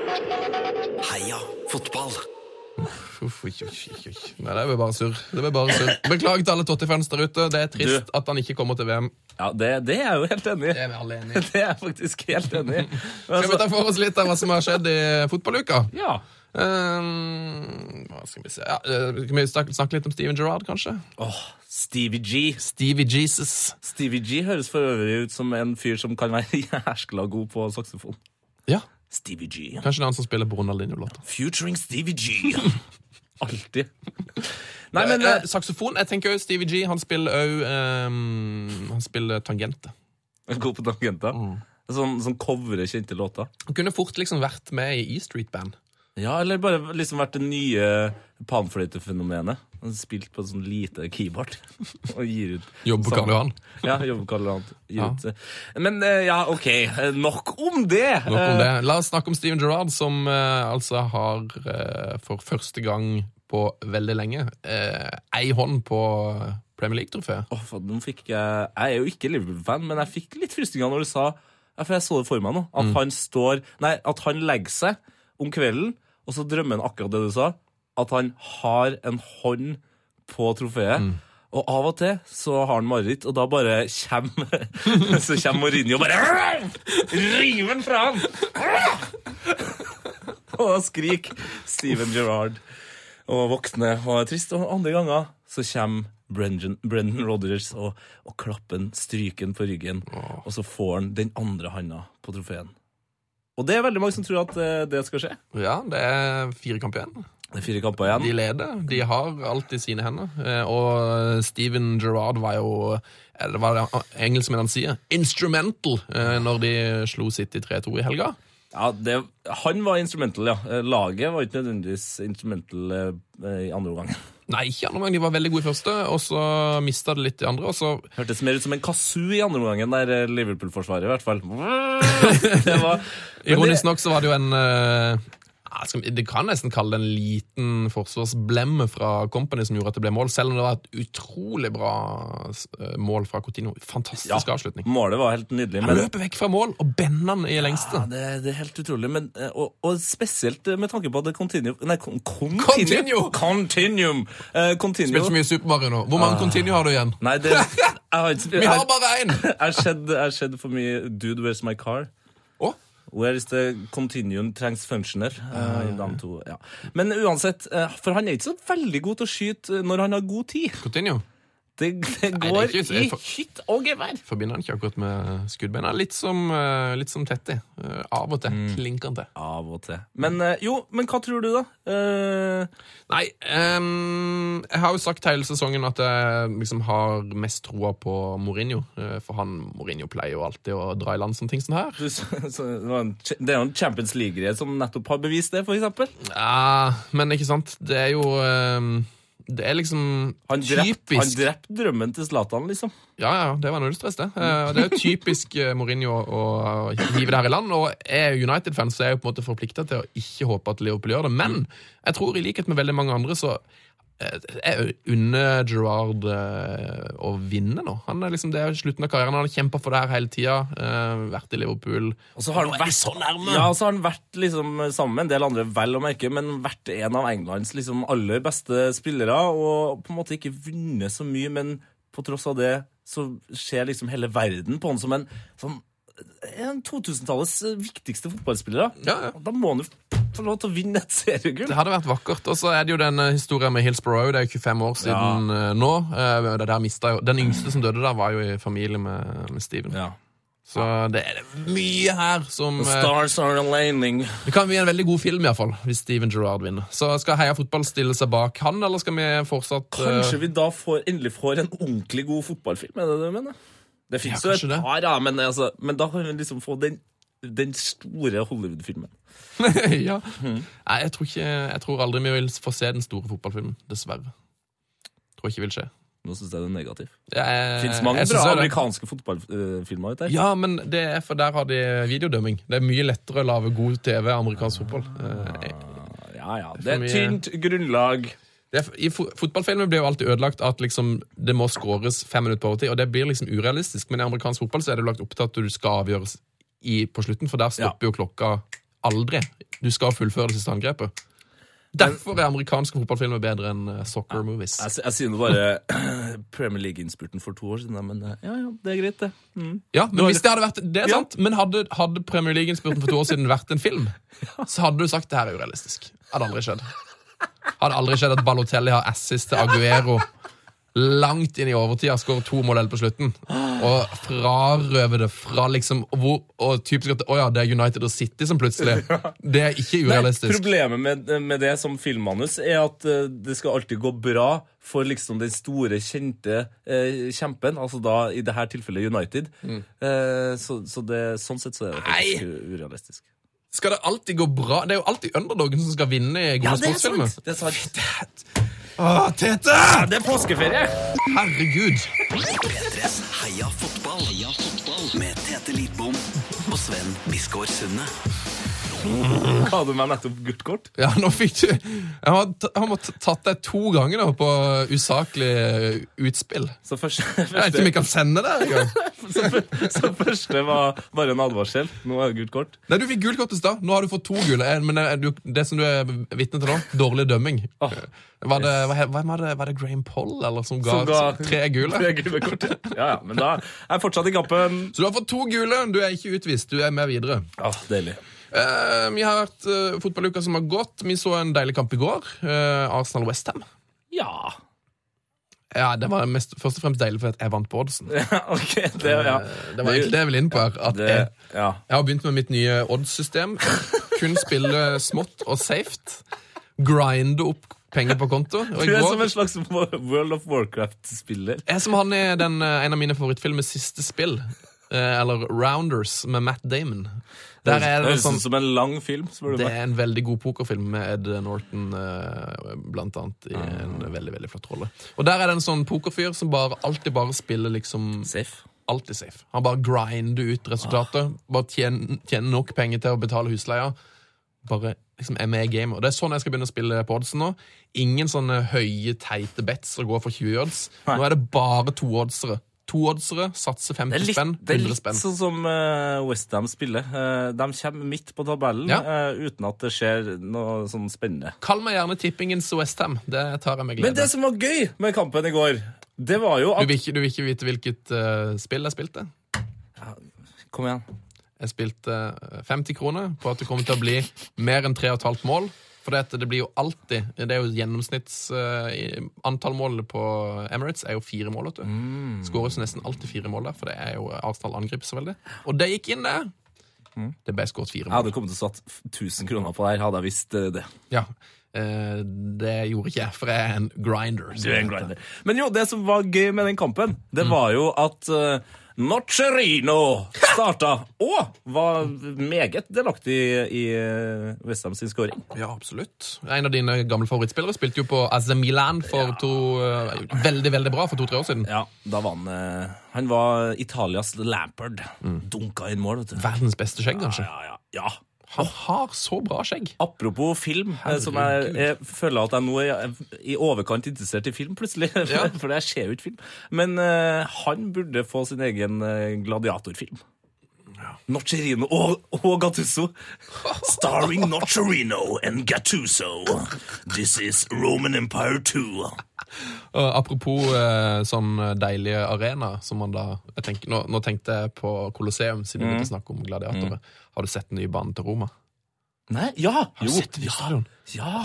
Speaker 2: Heia fotball.
Speaker 3: Uff, oi, oi, oi, oi. Nei, det blir bare surr. Det blir bare surr. Beklager til alle Totti-fans der ute. Det er trist at han ikke kommer til VM.
Speaker 4: Ja, det, det er jeg jo helt enig i.
Speaker 3: Det er vi alle enige i.
Speaker 4: Det er jeg faktisk helt enig i. Men
Speaker 3: Skal vi
Speaker 4: altså-
Speaker 3: ta for oss litt av hva som har skjedd i fotballuka?
Speaker 4: Ja.
Speaker 3: Ehm, hva skal vi se ja, eh, Kan vi snakke, snakke litt om Steven Gerrard, kanskje?
Speaker 4: Åh, Stevie G.
Speaker 3: Stevie Jesus.
Speaker 4: Stevie G høres for øvrig ut som en fyr som kan være jæskla god på saksofon.
Speaker 3: Ja,
Speaker 4: Stevie G.
Speaker 3: Kanskje det er han som spiller på Ronaldinho-låter.
Speaker 4: Futuring Stevie G. Alltid. Nei, men
Speaker 3: Eh, saksofon. Jeg tenker jo Stevie G. Han spiller òg Han spiller tangenter.
Speaker 4: eh, god på tangenter. Sånn, sånn covrer kjente låter.
Speaker 3: Han kunne fort liksom vært med i E Street Band.
Speaker 4: Ja, eller bare liksom vært det nye panfløytefenomenet. Han Spilt på en sånn lite keyboard og gir ut
Speaker 3: Jobber på Karl Johan.
Speaker 4: Ja, jobber Karl Johan. Gir
Speaker 3: Ja.
Speaker 4: ut. eh, Men eh, ja, OK. eh, Nok om det.
Speaker 3: Nok om det. La oss snakke om Steven Gerrard, som eh, altså har eh, for første gang på veldig lenge eh, ei hånd på Premier League-trofeet.
Speaker 4: Åh, faen, nå fikk jeg, jeg er jo ikke Liverpool-fan, men jeg fikk litt frysninger når du sa ja, For jeg så det for meg nå. At han står Nei, at han legger seg om kvelden, og så drømmer han akkurat det du sa. At han har en hånd på trofeet. Og av og til så har han mareritt, og da bare kommer Så kommer Mourinho og bare river den fra han! Og da skriker Steven Gerrard og våkner og er trist. Og andre ganger så kommer Brendan, Brendan Rodgers og, og klapper han, stryker han på ryggen. Og så får han den andre handa på trofeen. Og det er veldig mange som tror at eh, det skal skje.
Speaker 3: Ja, det er fire kamper igjen.
Speaker 4: Det er fire kamper igjen.
Speaker 3: De leder. De har alt i sine hender. Eh, Og Steven Gerrard var jo eller hva er det engelskmennene sier? Instrumental! eh, Når de slo City 3-2 i helga.
Speaker 4: Ja, det, han var instrumental, ja. Eh, Laget var ikke nødvendigvis instrumental eh, i andre omgang.
Speaker 3: Nei, ikke andre gang. De var veldig gode i første, og så mista det litt i andre. Og så
Speaker 4: Hørtes mer ut som en kazoo i andre omgang enn der eh, Liverpool-forsvaret, i hvert fall. Det var, men det-
Speaker 3: Ironisk nok så var det jo en eh, ja, skal vi- Det kan nesten kalle det en liten forsvarsblemme fra Company som gjorde at det ble mål, selv om det var et utrolig bra eh, mål fra Coutinho. Fantastisk avslutning.
Speaker 4: Målet var helt nydelig.
Speaker 3: Han løper vekk fra mål og bender den i
Speaker 4: Ja,
Speaker 3: lengste.
Speaker 4: det, det er helt utrolig, men, eh, og, og spesielt eh, med tanke på at det continue, nei, con- continue,
Speaker 3: Continue!
Speaker 4: Continuum! Eh,
Speaker 3: Spiller
Speaker 4: continue.
Speaker 3: ikke mye Super Mario nå. Hvor mange continue har du igjen?
Speaker 4: Nei, det, jeg har ikke
Speaker 3: Vi har
Speaker 4: jeg-
Speaker 3: bare én!
Speaker 4: Jeg har sett- jeg har sett for mye Dude, where's my car?
Speaker 3: Å,
Speaker 4: Where is the continuum trangs functioner? Eh, de to, ja. Men uansett, eh, for han er ikke så veldig god til å skyte eh, når han har god tid.
Speaker 3: Coutinho.
Speaker 4: Det, det
Speaker 3: det er
Speaker 4: går
Speaker 3: ikke- jeg for-
Speaker 4: i hytt og gevær.
Speaker 3: Forbinder han ikke akkurat med eh, skuddbeina. Litt som, eh, litt som Tetty. Eh, Av og til klinker han til.
Speaker 4: Av og til. Men eh, jo, men hva tror du, da? Eh,
Speaker 3: Nei, ehm, jeg har jo sagt hele sesongen at jeg liksom har mest troa på Mourinho. eh, For han, Mourinho pleier jo alltid å dra i land sånne ting som det her.
Speaker 4: du s- så, det var en ch- det er jo en Champions League-greie som nettopp har bevist det, for eksempel.
Speaker 3: Ja, men ikke sant, det er jo ehm, Det er liksom
Speaker 4: Han drepte
Speaker 3: typisk
Speaker 4: drept drømmen til Zlatan, liksom.
Speaker 3: Ja, ja, det var nullstress, det. Eh, Det er jo typisk eh, Mourinho å å hive det her i land. Og jeg er United-fan, så er jeg jo på en måte forplikta til å ikke håpe at Liverpool gjør det. Men jeg tror i likhet med veldig mange andre, så eh, jeg unner Gerrard eh, å vinne nå. Han er liksom, det er slutten av karrieren. Han har kjempa for det her hele tida. eh, Vært i Liverpool.
Speaker 4: Og så har han vært så nærme! Ja, og så har han vært liksom sammen med en del andre, vel å merke, men vært en av Englands liksom aller beste spillere, og på en måte ikke vunnet så mye, men på tross av det så ser liksom hele verden på han som en sånn en 2000-tallets viktigste fotballspillere.
Speaker 3: Ja, ja.
Speaker 4: Og Da må han jo få lov til å vinne et seriegull!
Speaker 3: Det hadde vært vakkert. Og så er det jo den eh, historien med Hillsborough. Det er jo 25 år siden eh, nå. Eh, Det der mistet jo, den yngste som døde der, var jo i familie med, med Steven.
Speaker 4: Ja.
Speaker 3: Så det er mye her som eh,
Speaker 4: Stars are aligning.
Speaker 3: Det kan bli en veldig god film, i hvert fall, hvis Steven Gerrard vinner. Så Skal Heia Fotball stille seg bak han, eller skal vi fortsatt eh,
Speaker 4: Kanskje vi da får, endelig får en ordentlig god fotballfilm, er det det du mener? Det fins
Speaker 3: Ja,
Speaker 4: jo et
Speaker 3: kanskje det.
Speaker 4: par, ja, men, altså, men da kan vi liksom få den, den store Hollywood-filmen.
Speaker 3: ja.
Speaker 4: Mm.
Speaker 3: Nei, jeg tror, ikke, jeg tror aldri vi vil få se den store fotballfilmen, dessverre. Tror ikke vil skje. eh,
Speaker 4: Nå syns jeg det er negativt.
Speaker 3: Det
Speaker 4: Fins mange bra amerikanske fotballfilmer ute der.
Speaker 3: Ja, men det er for der har de videodømming. Det er mye lettere å lage god TV amerikansk fotball. Eh,
Speaker 4: Ja, ja. Det er
Speaker 3: mye-
Speaker 4: tynt grunnlag.
Speaker 3: Det er, I fo- fotballfilmer blir jo alltid ødelagt at liksom, det må skåres fem minutter på overtid, og det blir liksom urealistisk. Men i amerikansk fotball så er det jo lagt opp til at du skal avgjøres i, på slutten, for der stopper jo klokka aldri. Du skal fullføre det siste angrepet. Derfor er amerikanske fotballfilmer bedre enn eh, soccer movies.
Speaker 4: Jeg, s- jeg sier nå bare Premier League-innspurten for to år siden, men eh, ja, ja, det er greit, det. Mm.
Speaker 3: Ja, men hvis det hadde vært Det er
Speaker 4: Ja.
Speaker 3: sant, men hadde, hadde Premier League-innspurten for to år siden vært en film, så hadde du sagt det her er urealistisk. Hadde aldri skjedd. Hadde aldri skjedd at Balotelli har assist til Aguero langt inn i overtida, skårer to mål helt på slutten, og frarøver det fra liksom hvor, Og typisk at Å ja, det er United og City som plutselig Det er ikke urealistisk.
Speaker 4: Problemet med, med det som filmmanus er at eh, det skal alltid gå bra for liksom den store, kjente eh, kjempen, altså da i det her tilfellet United. Eh, så så det, sånn sett så er det faktisk u- urealistisk.
Speaker 3: Skal det alltid gå bra? Det er jo alltid underdogen som skal vinne i gode sportsfilmer.
Speaker 4: Det er sant.
Speaker 3: Å, Tete!
Speaker 4: Ja, det er påskeferie!
Speaker 3: Herregud!
Speaker 2: P3s Heia fotball. Heia fotball. Med Tete Lidbom og Sven Biskår Sunde.
Speaker 4: Ga du meg nettopp gult kort?
Speaker 3: Ja, nå fikk du Han har, t- han har t- tatt deg to ganger nå på usaklig eh, utspill.
Speaker 4: Så første,
Speaker 3: Jeg vet ikke om
Speaker 4: første,
Speaker 3: jeg kan sende det engang.
Speaker 4: så, fyr- så første var bare en advarsel. Nå er det gult kort.
Speaker 3: Nei, du fikk gult kort i stad. Nå har du fått to gule. Eh, Men eh, du, det som du er vitne til nå, dårlig dømming.
Speaker 4: Åh.
Speaker 3: Var det, hva he- hvem var det, var det Graham Poll eller, som ga,
Speaker 4: Som ga-
Speaker 3: tre gule?
Speaker 4: Tre gule kort. Ja, ja, men da er jeg fortsatt i kampen.
Speaker 3: Så du har fått to gule. Du er ikke utvist. Du er med videre.
Speaker 4: Ja, deilig.
Speaker 3: Eh, vi har vært eh, fotballuka som har gått. Vi så en deilig kamp i går. Eh, Arsenal-Westham.
Speaker 4: Ja.
Speaker 3: Ja, det var mest, først og fremst deilig fordi jeg vant på oddsen.
Speaker 4: ok, Eh, det, ja.
Speaker 3: Det var egentlig det jeg ville inn på her. At
Speaker 4: Eh, det,
Speaker 3: jeg,
Speaker 4: ja.
Speaker 3: Jeg har begynt med mitt nye odds-system. Kun spille smått og safe. Grinde opp penger på konto. Og i
Speaker 4: Du er
Speaker 3: går-
Speaker 4: som en slags World of Warcraft-spiller.
Speaker 3: jeg er som han i den, eh, en av mine favorittfilmer, Siste spill. eh, Eller Rounders med Matt Damon. Der er det,
Speaker 4: Høres
Speaker 3: sånn,
Speaker 4: ut som en lang film, spør du
Speaker 3: det
Speaker 4: meg.
Speaker 3: er en veldig god pokerfilm med Ed Norton eh, blant annet i en
Speaker 4: Ah.
Speaker 3: veldig veldig flott rolle. Og der er det en sånn pokerfyr som bare alltid bare spiller liksom
Speaker 4: Safe.
Speaker 3: alltid safe. Han bare grinder ut resultatet. Bare tjener, tjener nok penger til å betale husleia. Bare liksom er med i gamet. Og det er sånn jeg skal begynne å spille på oddsen nå. Ingen sånne høye, teite bets og gå for 20 odds. Nå er det bare to-oddsere. To-oddsere satser
Speaker 4: Det er
Speaker 3: 50
Speaker 4: litt,
Speaker 3: spenn,
Speaker 4: det er
Speaker 3: 100
Speaker 4: litt
Speaker 3: spenn.
Speaker 4: sånn som Westham spiller. Eh, de kommer midt på tabellen
Speaker 3: Ja.
Speaker 4: eh, uten at det skjer noe sånn spennende.
Speaker 3: Kall meg gjerne tippingens Westham. Det tar jeg med
Speaker 4: Men det
Speaker 3: glede.
Speaker 4: som var gøy med kampen i går, det var jo
Speaker 3: Du
Speaker 4: at
Speaker 3: vil ikke, du vil ikke vite hvilket eh, spill jeg spilte?
Speaker 4: Kom igjen.
Speaker 3: Jeg spilte eh, 50 kroner på at det kommer til å bli mer enn 3,5 mål. For det, at det blir jo alltid Det er jo gjennomsnitts eh, i- Antall mål på Emirates er jo fire mål. vet du.
Speaker 4: Mm.
Speaker 3: Skåres nesten alltid fire mål der, for det er jo Arsenal angriper så veldig. Og det gikk inn, det!
Speaker 4: Mm.
Speaker 3: Det ble skåret fire
Speaker 4: Jeg
Speaker 3: mål.
Speaker 4: hadde kommet til å satt 1000 kroner på det her, hadde jeg visst eh, det.
Speaker 3: Ja. Eh, Det gjorde ikke jeg, for jeg er en grinder. som
Speaker 4: Du er en
Speaker 3: det heter.
Speaker 4: grinder. Men jo, det som var gøy med den kampen, det var jo at uh, Nocerino starta og var meget delaktig i eh, West Ham sin skåring.
Speaker 3: Ja, absolutt. En av dine gamle favorittspillere spilte jo på AC Milan for to eh, Veldig, veldig bra for to-tre år siden.
Speaker 4: Ja, da var han eh, Han var Italias Lampard. Dunka inn mål, vet du.
Speaker 3: Verdens beste skjegg, kanskje.
Speaker 4: Ja, ja, ja.
Speaker 3: Han har så bra skjegg.
Speaker 4: Apropos film, eh, som jeg, jeg føler at jeg nå er jeg er i overkant interessert i film, plutselig.
Speaker 3: Ja.
Speaker 4: For jeg ser jo ikke film. Men eh, han burde få sin egen eh, gladiatorfilm. Nocerino og, og Gattuso. Starring Nocerino and Gattuso. This is Roman Empire 2.
Speaker 3: Og apropos eh, sånn deilige arena som man da jeg tenker, nå, nå tenkte jeg på Colosseum, siden vi begynte å snakke om gladiatorer. Har du sett den nye banen til Roma?
Speaker 4: Nei, ja!
Speaker 3: Har du
Speaker 4: Jo,
Speaker 3: sett den nye stadion?
Speaker 4: ja!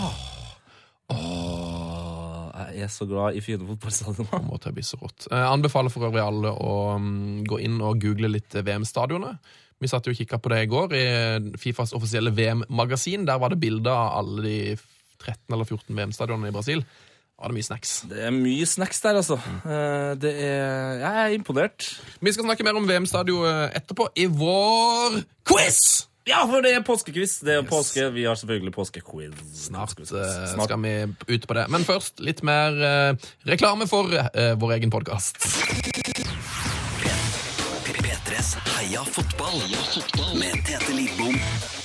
Speaker 4: Åh, jeg er så glad i fine fotballstadioner.
Speaker 3: Må til å bli så rått. Eh, anbefaler for øvrig alle å mm, gå inn og google litt VM-stadioner. Vi satt jo og kikka på det i går i eh, Fifas offisielle VM-magasin. Der var det bilder av alle de 13 eller 14 VM-stadionene i Brasil. Da var det mye snacks.
Speaker 4: Det er mye snacks der, altså.
Speaker 3: Mm.
Speaker 4: Eh, Det er, jeg er imponert.
Speaker 3: Vi skal snakke mer om VM-stadion etterpå i eh, vår quiz!
Speaker 4: Ja, for det er påskekviss. Det er påske. Vi har selvfølgelig påskequiz.
Speaker 3: Snart,
Speaker 4: Skal vi-
Speaker 3: eh,
Speaker 4: snart.
Speaker 3: skal vi ut på det. Men først litt mer eh, reklame for eh, vår egen podkast.
Speaker 2: P3s Heia fotball. Heia fotball med Tete Lidbom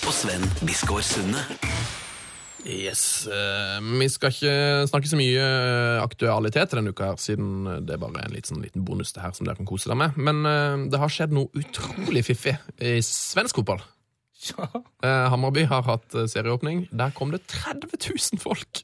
Speaker 2: og Sven Biskår Sunde.
Speaker 3: Yes. eh, vi skal ikke snakke så mye eh, aktualitet denne uka, her, siden eh, det er bare en litt sånn liten bonus det her som dere kan kose dere med. Men eh, det har skjedd noe utrolig fiffig i svensk fotball. Eh, Hammarby har hatt eh, serieåpning. Der kom det 30 000 folk!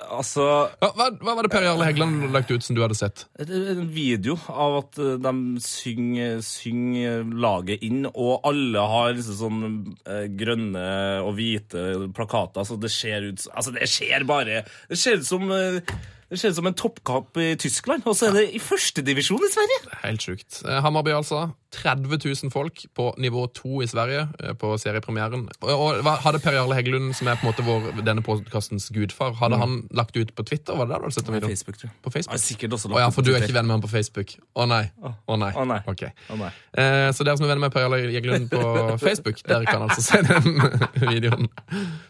Speaker 4: Altså,
Speaker 3: Ja, hva, hva var det Per Jarle Heggeland lagt ut som du hadde sett?
Speaker 4: det er en video av at eh, de synger, synger laget inn, og alle har liksom sånn eh, grønne og hvite plakater, så det ser ut som- Altså, det ser bare Det ser ut som eh, det ser ut som en toppkamp i Tyskland, og så er det i førstedivisjon i Sverige!
Speaker 3: Helt sjukt. Eh, Hammarby, altså. 30 000 folk på nivå 2 i Sverige eh, på seriepremieren. Og, og hva- Hadde Per Jarle Heggelund, som er på en måte vår, denne podkastens gudfar, hadde han lagt det ut på Twitter? Var det der du hadde sett den videoen?
Speaker 4: Mm. Facebook, tror jeg.
Speaker 3: På
Speaker 4: Ja,
Speaker 3: Facebook?
Speaker 4: sikkert også
Speaker 3: Å ja,
Speaker 4: lagt ut
Speaker 3: for du er
Speaker 4: på
Speaker 3: ikke venn med han på Facebook? Å nei. Å nei.
Speaker 4: Å nei.
Speaker 3: Ok.
Speaker 4: Å nei.
Speaker 3: Eh, så dere som er venner med Per Jarle Heggelund på Facebook, dere kan altså se den videoen.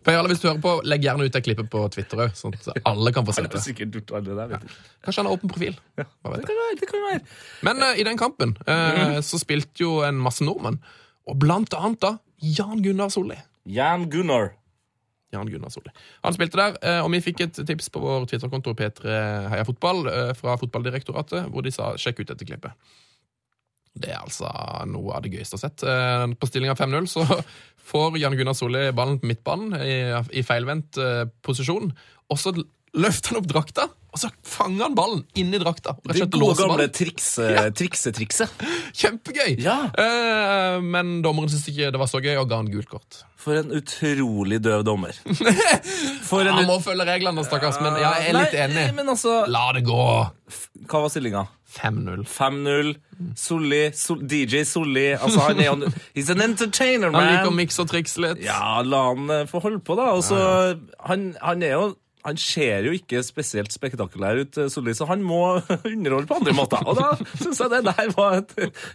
Speaker 3: Per Jarle, hvis du hører på, legg gjerne ut det klippet på Twitter òg, sånn at alle kan få se
Speaker 4: Det er
Speaker 3: det.
Speaker 4: sikkert gjort alle der, vet du.
Speaker 3: Kanskje han har åpen profil. Hva
Speaker 4: Det
Speaker 3: vet jeg?
Speaker 4: kan være, det kan være.
Speaker 3: Men eh, i den kampen eh,
Speaker 4: Mhm.
Speaker 3: så spilte jo en masse nordmenn, og blant annet da Jan Gunnar Solli.
Speaker 4: Jan Gunnar.
Speaker 3: Jan Gunnar Solli. Han spilte der, eh, og vi fikk et tips på vår Twitter-konto P3 Heia Fotball eh, fra Fotballdirektoratet, hvor de sa 'sjekk ut dette klippet'. Det er altså noe av det gøyeste jeg har sett. Eh, På stillinga 5-0 så får Jan Gunnar Solli ballen på midtbanen i, i feilvendt eh, posisjon, og så løfter han opp drakta, og så fanger han ballen inni drakta. Rett og
Speaker 4: Det
Speaker 3: slett
Speaker 4: gode
Speaker 3: låser
Speaker 4: gamle
Speaker 3: ballen.
Speaker 4: trikse- triksetrikset.
Speaker 3: Kjempegøy!
Speaker 4: Ja.
Speaker 3: Eh, men dommeren syntes ikke det var så gøy, og ga han gult kort.
Speaker 4: For en utrolig døv dommer. For en
Speaker 3: Han
Speaker 4: ut-
Speaker 3: må følge reglene, stakkars, men ja, jeg er litt
Speaker 4: Nei,
Speaker 3: enig.
Speaker 4: Men altså,
Speaker 3: La det gå!
Speaker 4: hva var stillinga?
Speaker 3: 5-0.
Speaker 4: 5-0. Solli. Sol, DJ Solli. Altså, han er jo He's an entertainer,
Speaker 3: Han liker å
Speaker 4: man.
Speaker 3: mikse og trikse litt.
Speaker 4: Ja, la han eh, få holde på, da. Altså, han, han er jo han ser jo ikke spesielt spektakulær ut, eh, Solli, så han må underholde på andre måter. Og da syns jeg det der var et,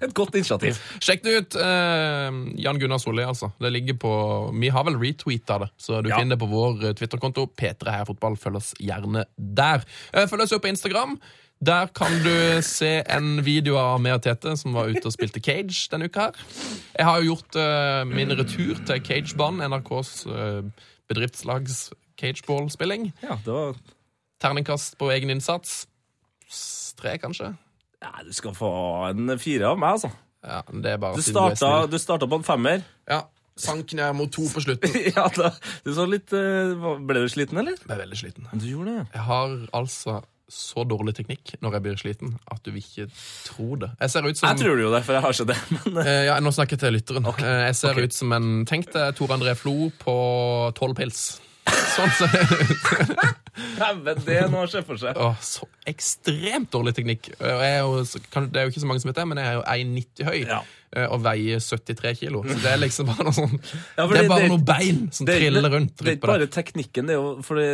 Speaker 4: et godt initiativ.
Speaker 3: Sjekk det ut. eh, Jan Gunnar Solli, altså. Det ligger på Vi har vel retweeta det, så du
Speaker 4: Ja.
Speaker 3: finner det på vår eh, Twitter-konto. P3 Heia Fotball. Følg oss gjerne der. Eh, Følg oss jo på Instagram. Der kan du se en video av meg og Tete som var ute og spilte Cage denne uka her. Jeg har jo gjort eh, min retur til Cagebanen, NRKs eh, bedriftslags cageball-spilling.
Speaker 4: Ja, det var
Speaker 3: Terningkast på egen innsats. S- Tre, kanskje?
Speaker 4: Ja, du skal få en fire av meg, altså.
Speaker 3: Ja, det er bare
Speaker 4: Du
Speaker 3: siden er
Speaker 4: starta,
Speaker 3: snill.
Speaker 4: du starta på en femmer.
Speaker 3: Ja, sank ned mot to på slutten.
Speaker 4: ja, da, du så litt, eh, hva- ble du sliten, eller?
Speaker 3: Jeg er veldig sliten.
Speaker 4: Du gjorde det,
Speaker 3: Jeg har altså så dårlig teknikk når jeg blir sliten, at du vil ikke tro det. Jeg ser ut som
Speaker 4: Jeg tror det jo det, for jeg har ikke det. Men eh,
Speaker 3: Eh, ja, Nå snakker jeg til lytteren. Eh, jeg ser ut som en Tenk deg Tor André Flo på tolv pils. Sånn ser jeg ut.
Speaker 4: dæven, det er noe å se for seg.
Speaker 3: Åh, så ekstremt dårlig teknikk. Eh, Og jeg er jo, så- kan- det er jo ikke så mange som vet det, men jeg er jo 1,90 høy
Speaker 4: Ja.
Speaker 3: eh, og veier 73 kilo. Så det er liksom bare noe sånn
Speaker 4: Ja, for
Speaker 3: Det er
Speaker 4: det-
Speaker 3: bare
Speaker 4: det-
Speaker 3: noen bein som
Speaker 4: er ikke-
Speaker 3: triller rundt.
Speaker 4: det er
Speaker 3: rundt
Speaker 4: ikke
Speaker 3: på
Speaker 4: bare
Speaker 3: deg.
Speaker 4: teknikken, det er jo fordi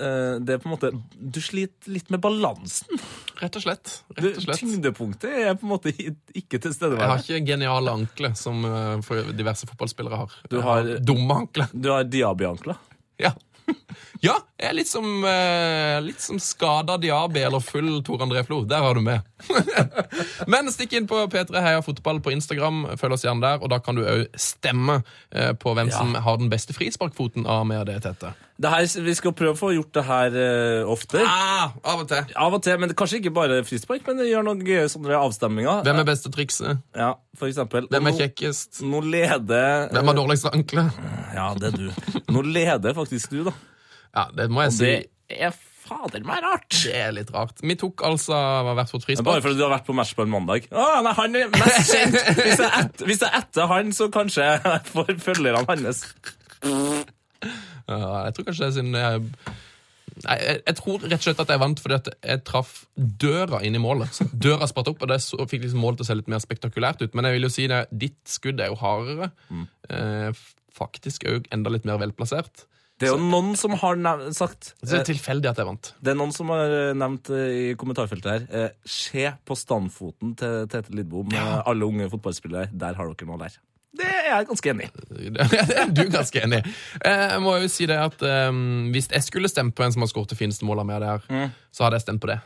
Speaker 4: eh, Det er på en måte Du sliter litt med balansen.
Speaker 3: Rett og slett.
Speaker 4: Du,
Speaker 3: Rett og slett.
Speaker 4: tyngdepunktet er på en måte i- ikke til stede.
Speaker 3: Jeg har ikke geniale ankler som eh, for diverse fotballspillere har.
Speaker 4: Du
Speaker 3: Jeg
Speaker 4: har-
Speaker 3: dumme ankler.
Speaker 4: Du har diabiankler.
Speaker 3: Ja. ja, jeg er litt som, eh, litt som skada Diabi eller full Tor André Flo. Der har du med. Men stikk inn på P3 Heia Fotball på Instagram. Følg oss gjerne der, og da kan du òg stemme eh, på hvem som har den beste frisparkfoten av meg og det, Tete.
Speaker 4: Det her, vi skal prøve å få gjort det her eh, ofte.
Speaker 3: Ah, av og til.
Speaker 4: Av og til, men kanskje ikke bare frispark, men gjør noen gøye sånne avstemninger.
Speaker 3: Hvem er beste trikset?
Speaker 4: Ja, for eksempel. Og
Speaker 3: Hvem er
Speaker 4: nå-
Speaker 3: kjekkest?
Speaker 4: Nå leder
Speaker 3: Hvem har dårligst ankle?
Speaker 4: Ja, det er du. Nå leder faktisk du, da.
Speaker 3: Ja, det må jeg si.
Speaker 4: Det er fader meg rart.
Speaker 3: Det er litt rart. Vi tok altså hvert vårt frispark.
Speaker 4: Bare fordi du har vært på match på en mandag. Å, nei, han er mest kjent. Hvis det er, et, hvis det er etter han, så kanskje jeg får følgerne hans.
Speaker 3: Ja, jeg tror kanskje det er siden jeg, Nei, jeg, jeg tror rett og slett at jeg vant fordi at jeg traff døra inn i målet. Så døra spratt opp, og det så, fikk liksom målet til å se litt mer spektakulært ut. Men jeg vil jo si det, ditt skudd er jo hardere. Eh, f- faktisk òg enda litt mer velplassert.
Speaker 4: Det er jo noen som har nev sagt
Speaker 3: Så det
Speaker 4: eh,
Speaker 3: er tilfeldig at jeg vant.
Speaker 4: Det er noen som har eh, nevnt eh, i kommentarfeltet her eh, Se på standfoten til Tete Lidbom. eh, Alle unge fotballspillere. Der har dere noe der. Det er jeg ganske enig i.
Speaker 3: Det er du ganske enig. i. Eh, Jeg må jo si det at eh, Hvis jeg skulle stemt på en som har skåret det fineste målet av meg der, så hadde jeg stemt på det.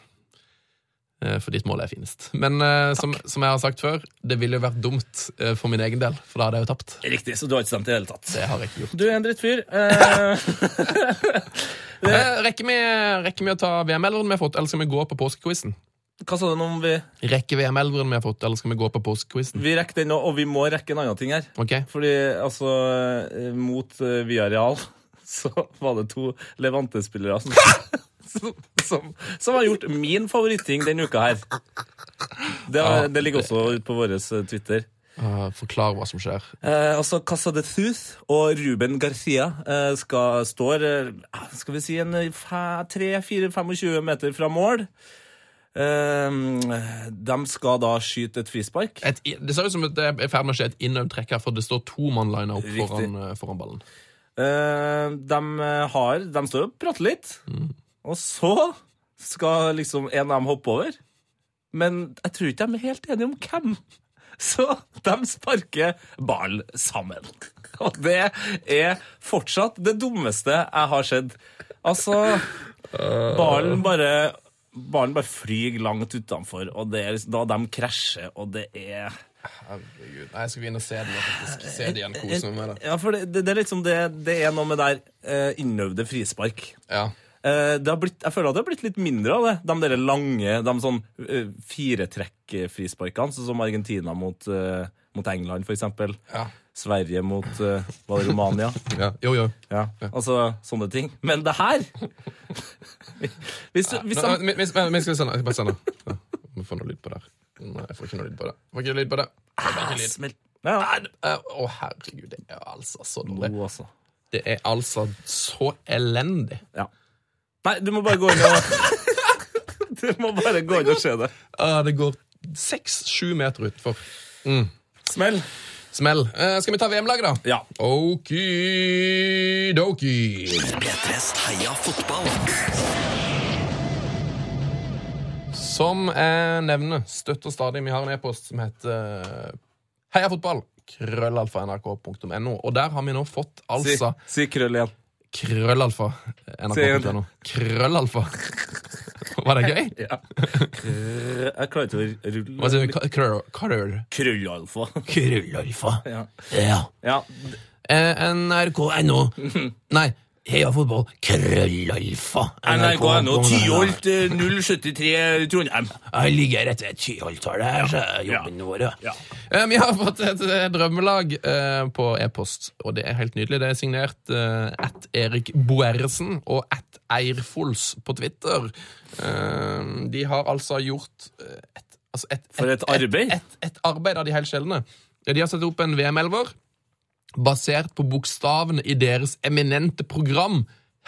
Speaker 3: Eh, For ditt mål er finest. Men eh, som, som jeg har sagt før, det ville jo vært dumt eh, for min egen del, for da hadde jeg jo tapt.
Speaker 4: Riktig, så du har ikke stemt i det hele tatt.
Speaker 3: Det har jeg ikke gjort.
Speaker 4: Du er en drittfyr. Eh,
Speaker 3: Eh, Rekker vi, rekker vi å ta VM-elveren vi har fått, eller skal vi gå på påskequizen?
Speaker 4: hva sa du nå om vi
Speaker 3: Rekker VM-elveren vi har fått, eller skal vi gå på påskequizen?
Speaker 4: Vi rekker den nå, og vi må rekke en annen ting her.
Speaker 3: Ok?
Speaker 4: Fordi altså, eh, mot eh, Villarreal så var det to Levante-spillere som, som, som, som har gjort min favoritting denne uka her. Det, har- det ligger også ute på vår Twitter.
Speaker 3: Eh, Forklar hva som skjer.
Speaker 4: Eh, altså Casa de Thuth og Ruben Garcia eh, skal, står eh, skal vi si en eh, 3-4-25 meter fra mål. Eh, de skal da skyte et frispark.
Speaker 3: Et, i- det ser ut som at det er i ferd med å skje et innøvd trekk her, for det står to mann lina opp
Speaker 4: Riktig.
Speaker 3: foran, eh, foran ballen.
Speaker 4: Eh, de, har, de står og prater litt,
Speaker 3: Mm.
Speaker 4: og så skal liksom en av dem hoppe over. Men jeg tror ikke de er helt enige om hvem. Så de sparker ball sammen. Og det er fortsatt det dummeste jeg har sett. Altså Ballen bare Ballen bare flyr langt utenfor, og det er liksom, da de krasjer, og det er
Speaker 3: Herregud. Nei, jeg skal gå inn og se det nå, faktisk. Se
Speaker 4: Eh,
Speaker 3: det igjen, kose meg med det.
Speaker 4: Ja, for det, det, det er liksom det, det er noe med det der eh, innøvde frispark.
Speaker 3: Ja.
Speaker 4: Eh, det har blitt, jeg føler at det har blitt litt mindre av det. De der lange, de sånn eh, firetrekk-frisparkene, sånn som Argentina mot, eh, mot England, for eksempel.
Speaker 3: Ja.
Speaker 4: Sverige mot eh, var det Romania.
Speaker 3: ja. Jo, jo.
Speaker 4: Ja. Altså sånne ting. Men det her Hvis du hvis
Speaker 3: Nå,
Speaker 4: de,
Speaker 3: men, men, men, men jeg skal sende. Jeg skal bare sende. Ja. Vi får noe lyd på det her. Nei, jeg får ikke noe lyd på det. Jeg Får ikke noe lyd på det. Det er ikke lyd.
Speaker 4: Smelt. Ja,
Speaker 3: Nei, det- eh, Å, herregud. Det er altså så dårlig.
Speaker 4: god, altså.
Speaker 3: Det er altså så elendig.
Speaker 4: Ja. Nei, du må bare gå inn og Du må bare gå inn og se det.
Speaker 3: Ah, det går seks-sju meter utfor.
Speaker 4: Smell.
Speaker 3: Smell. Eh, skal vi ta VM-laget, da?
Speaker 4: Ja.
Speaker 3: Okidoki.
Speaker 2: P3s Heia fotball.
Speaker 3: Som jeg nevner, støtter stadig. Vi har en e-post som heter heiafotball. Krøllalfa nrk.no. Og der har vi nå fått
Speaker 4: Si,
Speaker 3: altså
Speaker 4: si krøll igjen.
Speaker 3: krøllalfa nrk.no. Krøllalfa. Var det gøy?
Speaker 4: Ja. Krøll- Jeg klarer ikke å rulle
Speaker 3: Hva sier du? K- krø- Krøll...
Speaker 4: Krøllalfa.
Speaker 3: Krøllalfa.
Speaker 4: Ja.
Speaker 3: Ja.
Speaker 4: ja.
Speaker 3: Eh, nrk.no. Nei, heiafotball. Krøllalfa.
Speaker 4: NRK.no. Tyholt eh, 073 Trondheim.
Speaker 3: Jeg ligger rett ved Tyholttallet her, så er
Speaker 4: jobben
Speaker 3: vår.
Speaker 4: Ja.
Speaker 3: Eh, Vi har fått et eh, drømmelag eh, på e-post, og det er helt nydelig. Det er signert eh, at Erik Boersen og at Eirfols på Twitter. Eh, de har altså gjort eh, et, altså et,
Speaker 4: For et arbeid.
Speaker 3: Et, et, et arbeid av de helt sjeldne. De har satt opp en VM-elver basert på bokstavene i deres eminente program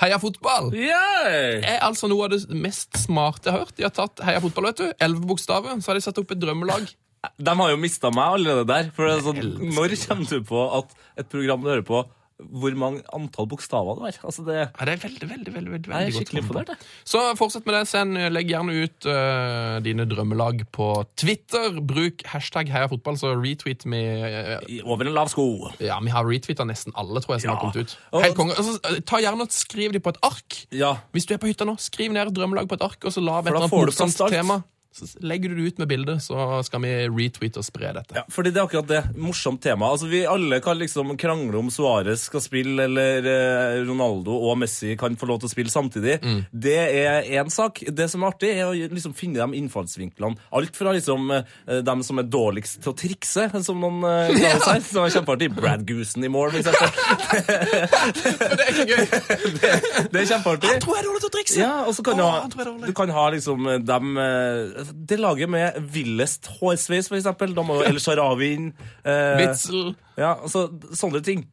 Speaker 3: Heia fotball!
Speaker 4: Yeah!
Speaker 3: er altså noe av det mest smarte jeg har hørt. De har tatt Heia fotball, vet du. Elleve bokstaver. Så har de satt opp et drømmelag.
Speaker 4: De har jo mista meg allerede der. For det er sånn, når kommer du på at et program du hører på, hvor mange antall bokstaver det er? Altså det,
Speaker 3: Ja, det er veldig, veldig, veldig, veldig,
Speaker 4: jeg
Speaker 3: veldig
Speaker 4: er
Speaker 3: godt
Speaker 4: skikkelig
Speaker 3: kommet på.
Speaker 4: imponert. jeg.
Speaker 3: Så fortsett med det. Send, legg gjerne ut øh, dine drømmelag på Twitter. Bruk hashtag heiafotball, så retweet vi øh,
Speaker 4: I- Over en lav sko.
Speaker 3: Ja, vi har retweeta nesten alle, tror jeg, som
Speaker 4: Ja.
Speaker 3: har kommet ut.
Speaker 4: Og-
Speaker 3: Helt konge. Altså, øh, ta gjerne og skriv de på et ark.
Speaker 4: Ja.
Speaker 3: Hvis du er på hytta nå, skriv ned et drømmelag på et ark, og så la et
Speaker 4: da
Speaker 3: eller annet
Speaker 4: får du plass
Speaker 3: morsomt
Speaker 4: til alt.
Speaker 3: tema. Så legger du det ut med bildet, så skal vi retweete og spre dette.
Speaker 4: Ja, fordi det er akkurat det. Morsomt tema. Altså, Vi alle kan liksom krangle om Suárez skal spille, eller eh, Ronaldo og Messi kan få lov til å spille samtidig.
Speaker 3: Mm.
Speaker 4: Det er én sak. Det som er artig, er å liksom finne de innfallsvinklene. Alt fra liksom eh, dem som er dårligst til å trikse, som noen eh, kaller seg. Som er kjempeartig. Brad Goosen i mål, for eksempel.
Speaker 3: Det er ikke gøy!
Speaker 4: Det er kjempeartig.
Speaker 3: Tror jeg er dårlig til å trikse!
Speaker 4: Ja, og så kan du
Speaker 3: Åh, han tror jeg er
Speaker 4: ha,
Speaker 3: dårlig.
Speaker 4: du kan ha liksom eh, dem eh, Det laget med villest hårsveis, for eksempel. Da må jo El Sharawi inn. eh,
Speaker 3: Bitzel.
Speaker 4: Ja, altså, sånne ting.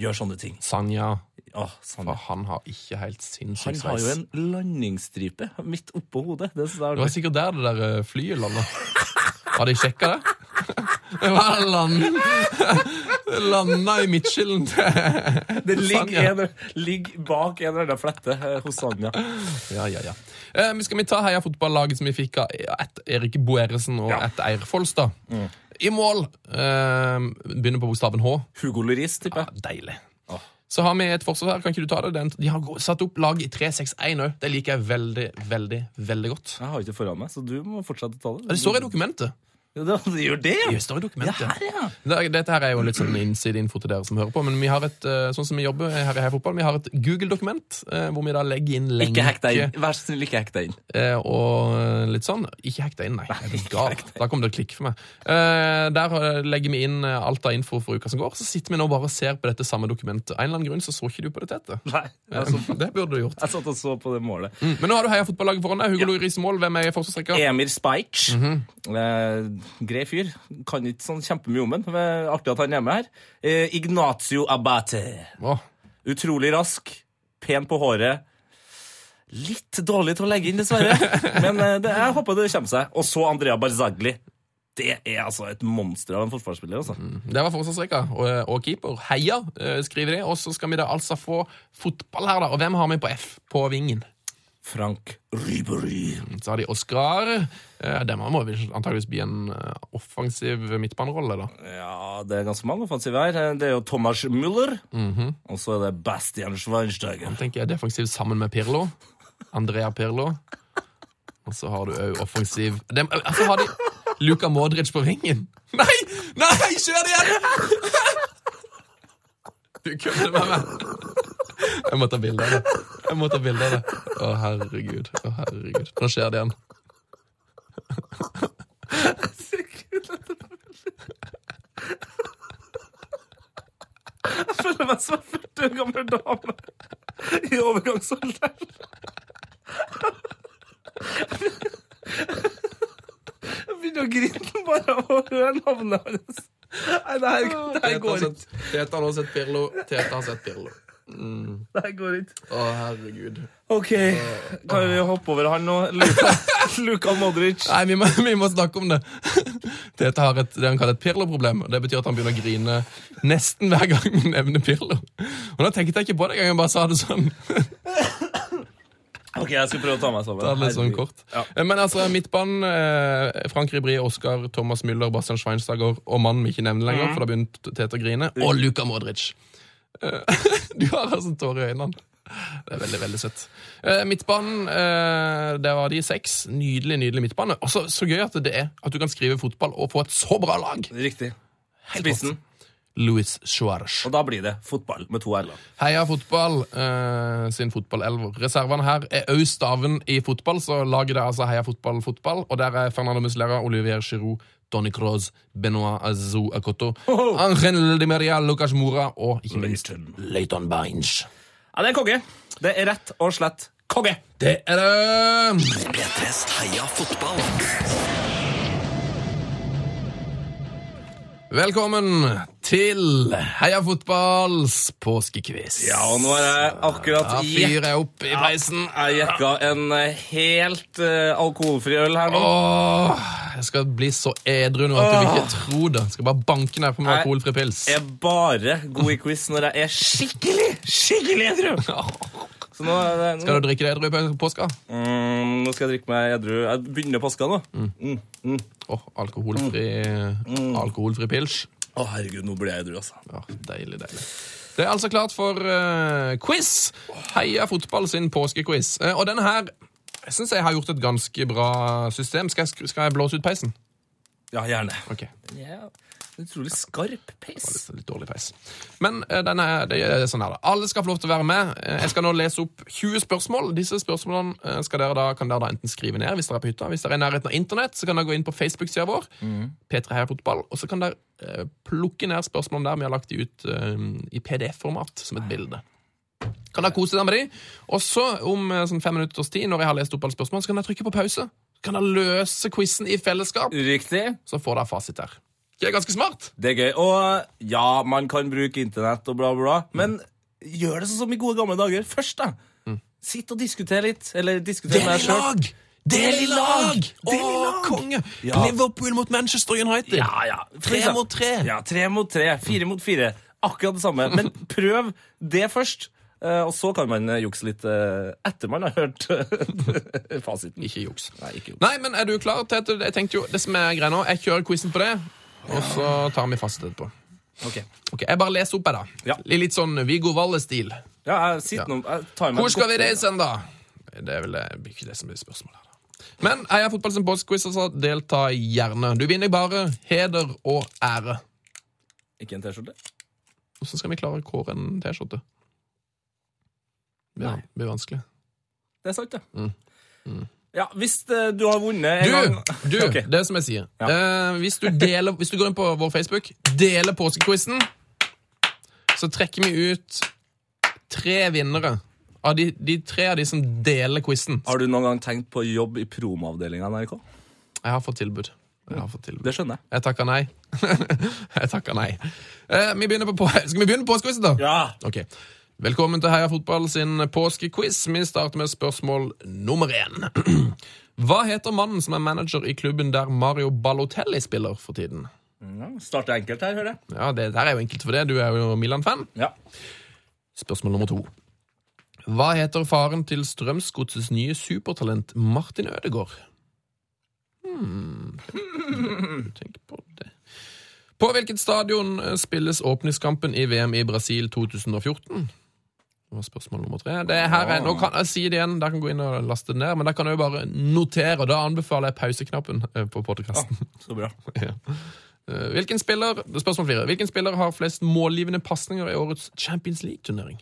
Speaker 4: Gjør sånne ting.
Speaker 3: Sanja.
Speaker 4: Åh, sånn.
Speaker 3: For han har ikke helt sinnssyk
Speaker 4: Han har jo en landingsstripe midt oppå hodet. Det synes jeg
Speaker 3: Det var
Speaker 4: er
Speaker 3: sikkert der det der eh, flyet landa. Har de sjekka det? Det var land... landa i midtskillen til
Speaker 4: artig. det ligger,
Speaker 3: Sanja.
Speaker 4: en, ligger bak en eller annen flette eh, hos Sanja.
Speaker 3: Ja, ja, ja. Eh, men skal vi ta heiafotballaget som vi fikk av at Erik Boeresen og
Speaker 4: Ja. Mm.
Speaker 3: at Eir Folstad? I mål eh, begynner på bokstaven H.
Speaker 4: Hugo Lloris, tipper jeg.
Speaker 3: Deilig.
Speaker 4: Åh.
Speaker 3: Så har vi et forsvar her. Kan ikke du ta det? Den, de har gå- satt opp lag i 3-6-1 òg. Det liker jeg veldig, veldig veldig godt.
Speaker 4: Jeg har ikke det foran meg, så du må fortsette å ta det.
Speaker 3: Det står i dokumentet.
Speaker 4: Ja, det- det gjør det, ja!
Speaker 3: Det står i dokumentet.
Speaker 4: Det her, ja.
Speaker 3: Det- Dette her er jo litt sånn innsideinfo til dere som hører på, men vi har et eh, sånn som vi jobber her i Heia Fotball, vi har et Google-dokument eh, hvor vi da legger inn lenke
Speaker 4: Ikke hack deg inn. Vær så snill, ikke hack deg inn.
Speaker 3: eh, og eh, litt sånn. Ikke hack deg inn, nei. Er du gal? Da kommer det et klikk for meg. Eh, der eh, legger vi inn eh, alt av info for uka som går. Så sitter vi nå bare og ser på dette samme dokumentet. Av en eller annen grunn så så ikke du på dette. Tete.
Speaker 4: Nei, altså. jeg,
Speaker 3: Eh,
Speaker 4: så,
Speaker 3: Det burde du gjort.
Speaker 4: jeg satt og så på det målet.
Speaker 3: Men nå har du heia fotballaget foran deg. Hugo
Speaker 4: Ja.
Speaker 3: Lloris i mål. Hvem er i forsvarsrekka?
Speaker 4: Emir Spajc. eh, grei fyr. Kan ikke sånn kjempemye om han. men Artig at han er med her. Eh, Ignacio Abate.
Speaker 3: Åh,
Speaker 4: Utrolig rask. Pen på håret. Litt dårlig til å legge inn, dessverre. Men eh, det, jeg håper det kommer seg. Og så Andrea Barzagli. Det er altså et monster av en forsvarsspiller. altså.
Speaker 3: Det var forsvarsrekka og, og keeper. Heia, eh, skriver de. Og så skal vi da altså få fotball her, da. Og hvem har vi på F på vingen? Mm,
Speaker 4: Frank Ribery.
Speaker 3: Så har de Oscar. Eh, Den må vel antageligvis bli en eh, offensiv midtbanerolle, da.
Speaker 4: Ja, det er ganske mange offensive her. Eh, Det er jo Thomas Müller. Og så er det Bastian Schweinsteiger.
Speaker 3: Tenker jeg defensiv sammen med Pirlo. Andrea Pirlo. Og så har du òg offensiv Dem- eh, Så har de Luka Modric på vingen. Nei! Nei, kjør det igjen! Du kødder med meg. Jeg må ta bilde av det. Jeg må ta bilde av det. Å, herregud. Å, herregud. Nå skjer det igjen.
Speaker 4: føler meg som en 40 år gammel dame i overgangsalderen. Jeg begynner å grine bare av å høre navnet hans. Nei, det her, det her
Speaker 3: Tete har
Speaker 4: går ikke.
Speaker 3: sett- Tete har nå sett Pirlo. Tete har sett Pirlo. Mm.
Speaker 4: Det her går ikke.
Speaker 3: Å, herregud.
Speaker 4: OK, kan vi hoppe over han nå? Luka, Luka Modric.
Speaker 3: Nei, vi må, vi må snakke om det. Tete har et, det han kaller et Pirlo-problem. og Det betyr at han begynner å grine nesten hver gang vi nevner Pirlo. Og da tenkte jeg ikke på det engang, jeg bare sa det sånn.
Speaker 4: OK, jeg skal prøve å ta meg sammen.
Speaker 3: Det er litt sånn
Speaker 4: Herregud.
Speaker 3: kort.
Speaker 4: Ja.
Speaker 3: Eh, Men altså, midtbanen eh, Frank Ribri, Oskar, Thomas Müller, Bastian Schweinsteiger og mannen vi ikke nevner lenger, for da begynte Tete å grine, og Luka Modric. Eh, Du har altså tårer i øynene. Det er veldig, veldig søtt. Eh, Midtbanen, eh, der var de seks. Nydelig, nydelig midtbane. Og så så gøy at det er at du kan skrive fotball og få et så bra lag.
Speaker 4: Riktig. Spissen.
Speaker 3: Luis Suárez.
Speaker 4: Og da blir det fotball med to r-er.
Speaker 3: Heia fotball eh, sin fotballelver. Reservene her er òg staven i fotball, så laget det altså Heia fotball fotball. Og der er Fernando Muslera, Olivier Giroud, Tony Cross, Benoit Azou Akoto,
Speaker 4: Oh.
Speaker 3: Angel Di Maria, Lucas Mora og ikke minst
Speaker 4: Ja,
Speaker 3: Leighton Baines.
Speaker 4: det er konge. Det er rett og slett konge.
Speaker 3: Det er det!
Speaker 2: P3s Heia fotball.
Speaker 3: Velkommen til Heia fotballs påskekviss.
Speaker 4: Ja, og nå har jeg akkurat
Speaker 3: Da
Speaker 4: gjett-
Speaker 3: fyrer jeg opp i peisen.
Speaker 4: Jeg jekka en eh, helt eh, alkoholfri øl her nå.
Speaker 3: Åh, jeg skal bli så edru nå at du vil ikke tro det. Jeg skal bare banke ned på meg
Speaker 4: Nei.
Speaker 3: alkoholfri pils.
Speaker 4: Jeg er bare god i quiz når jeg er skikkelig skikkelig edru. Så nå, er det-
Speaker 3: Skal
Speaker 4: nå,
Speaker 3: du drikke deg edru i pø- påska?
Speaker 4: mm, nå skal jeg drikke meg edru. Jeg begynner påska nå. Å,
Speaker 3: Åh, alkoholfri, eh, alkoholfri pils.
Speaker 4: herregud, nå blir jeg edru, altså.
Speaker 3: Ja, deilig, deilig. Det er altså klart for eh, quiz. Heia fotball sin påskequiz. Eh, og denne her jeg syns jeg har gjort et ganske bra system. Skal jeg, skru- skal jeg blåse ut peisen?
Speaker 4: Ja, gjerne.
Speaker 3: Ok,
Speaker 4: Ja, Utrolig skarp peis.
Speaker 3: så litt dårlig peis. Men eh, denne, det er sånn her, da. Alle skal få lov til å være med. Eh, jeg skal nå lese opp 20 spørsmål. Disse spørsmålene eh, skal dere da, kan dere da enten skrive ned hvis dere er på hytta. Hvis dere er i nærheten av internett, så kan dere gå inn på Facebook-sida vår,
Speaker 4: Mm.
Speaker 3: P3 Heia Fotball, og så kan dere eh, plukke ned spørsmålene der. Vi har lagt de ut eh, i PDF-format som et bilde. Kan dere kose dere med de? Og så, om eh, sånn fem minutters tid, når jeg har lest opp alle spørsmålene, så kan dere trykke på pause. Så kan dere løse quizen i fellesskap,
Speaker 4: Riktig.
Speaker 3: så får dere fasit der. Det er ganske smart.
Speaker 4: Det er gøy. Og ja, man kan bruke internett og bla, bla, bla, men gjør det sånn som i gode gamle dager. Først, da. Sitt og diskuter litt. Eller diskuter med deg
Speaker 3: Del i
Speaker 4: sjøl.
Speaker 3: lag! Del i lag!
Speaker 4: Del i
Speaker 3: Å,
Speaker 4: lag!
Speaker 3: konge!
Speaker 4: Ja.
Speaker 3: Liverpool mot Manchester United.
Speaker 4: Ja, ja. For
Speaker 3: Tre
Speaker 4: eksempel-
Speaker 3: mot tre.
Speaker 4: Ja, tre mot tre. Fire mot fire. Akkurat det samme. Men prøv det først. eh, Og så kan man eh, jukse litt eh, etter man har hørt eh, fasiten.
Speaker 3: Ikke juks.
Speaker 4: Nei, ikke juks.
Speaker 3: Nei, men er du klar, Tete? Jeg tenkte jo, det som er greia nå, jeg kjører quizen på det. og så tar vi fasit etterpå.
Speaker 4: Ok.
Speaker 3: Ok, Jeg bare leser opp, jeg, da.
Speaker 4: Ja.
Speaker 3: Litt sånn Viggo Valle-stil.
Speaker 4: Ja, jeg sitter nå jeg tar meg
Speaker 3: Hvor
Speaker 4: et
Speaker 3: skal vi
Speaker 4: godt-
Speaker 3: reise hen, da? Det er vel det blir ikke det som blir spørsmålet. her, da. Men Heia fotball sin postquiz, altså. Delta gjerne. Du vinner bare heder og ære.
Speaker 4: Ikke en T-skjorte?
Speaker 3: Hvordan skal vi klare å kåre en T-skjorte? Ja,
Speaker 4: Nei.
Speaker 3: det blir vanskelig.
Speaker 4: Det er sant, det. Ja, hvis eh, Mm. du har vunnet en gang
Speaker 3: Du, du
Speaker 4: Ok.
Speaker 3: det som jeg sier.
Speaker 4: Ja.
Speaker 3: Eh, hvis, du deler, hvis du går inn på vår Facebook, deler påskequizen, så trekker vi ut tre vinnere. Av de, de tre av de som deler quizen.
Speaker 4: Har du noen gang tenkt på jobb i promoavdelinga i NRK?
Speaker 3: Jeg har fått tilbud. Jeg har fått tilbud.
Speaker 4: Det skjønner jeg.
Speaker 3: Jeg takker nei. jeg takker nei. Eh, vi begynner på, på Skal vi begynne på påskequizen, da?
Speaker 4: Ja!
Speaker 3: Ok. Velkommen til Heia Fotball sin påskequiz. Vi starter med spørsmål nummer én. Hva heter mannen som er manager i klubben der Mario Balotelli spiller for tiden?
Speaker 4: Starter enkelt her, hører jeg.
Speaker 3: Ja, det der er jo enkelt for det. Du er jo Milan-fan.
Speaker 4: Ja.
Speaker 3: Spørsmål nummer to. Hva heter faren til Strømsgodsets nye supertalent Martin Ødegaard? Hmm. Tenk på det. På hvilket stadion eh, spilles åpningskampen i VM i Brasil 2014? Det var spørsmål nummer tre. Det her er, nå kan jeg si det igjen, der kan jeg gå inn og laste den ned, men der kan jeg jo bare notere, og da anbefaler jeg pauseknappen eh, på podcasten.
Speaker 4: Ah, Så bra.
Speaker 3: Ja. Eh, Hvilken spiller, det er spørsmål fire. Hvilken spiller har flest målgivende pasninger i årets Champions League-turnering?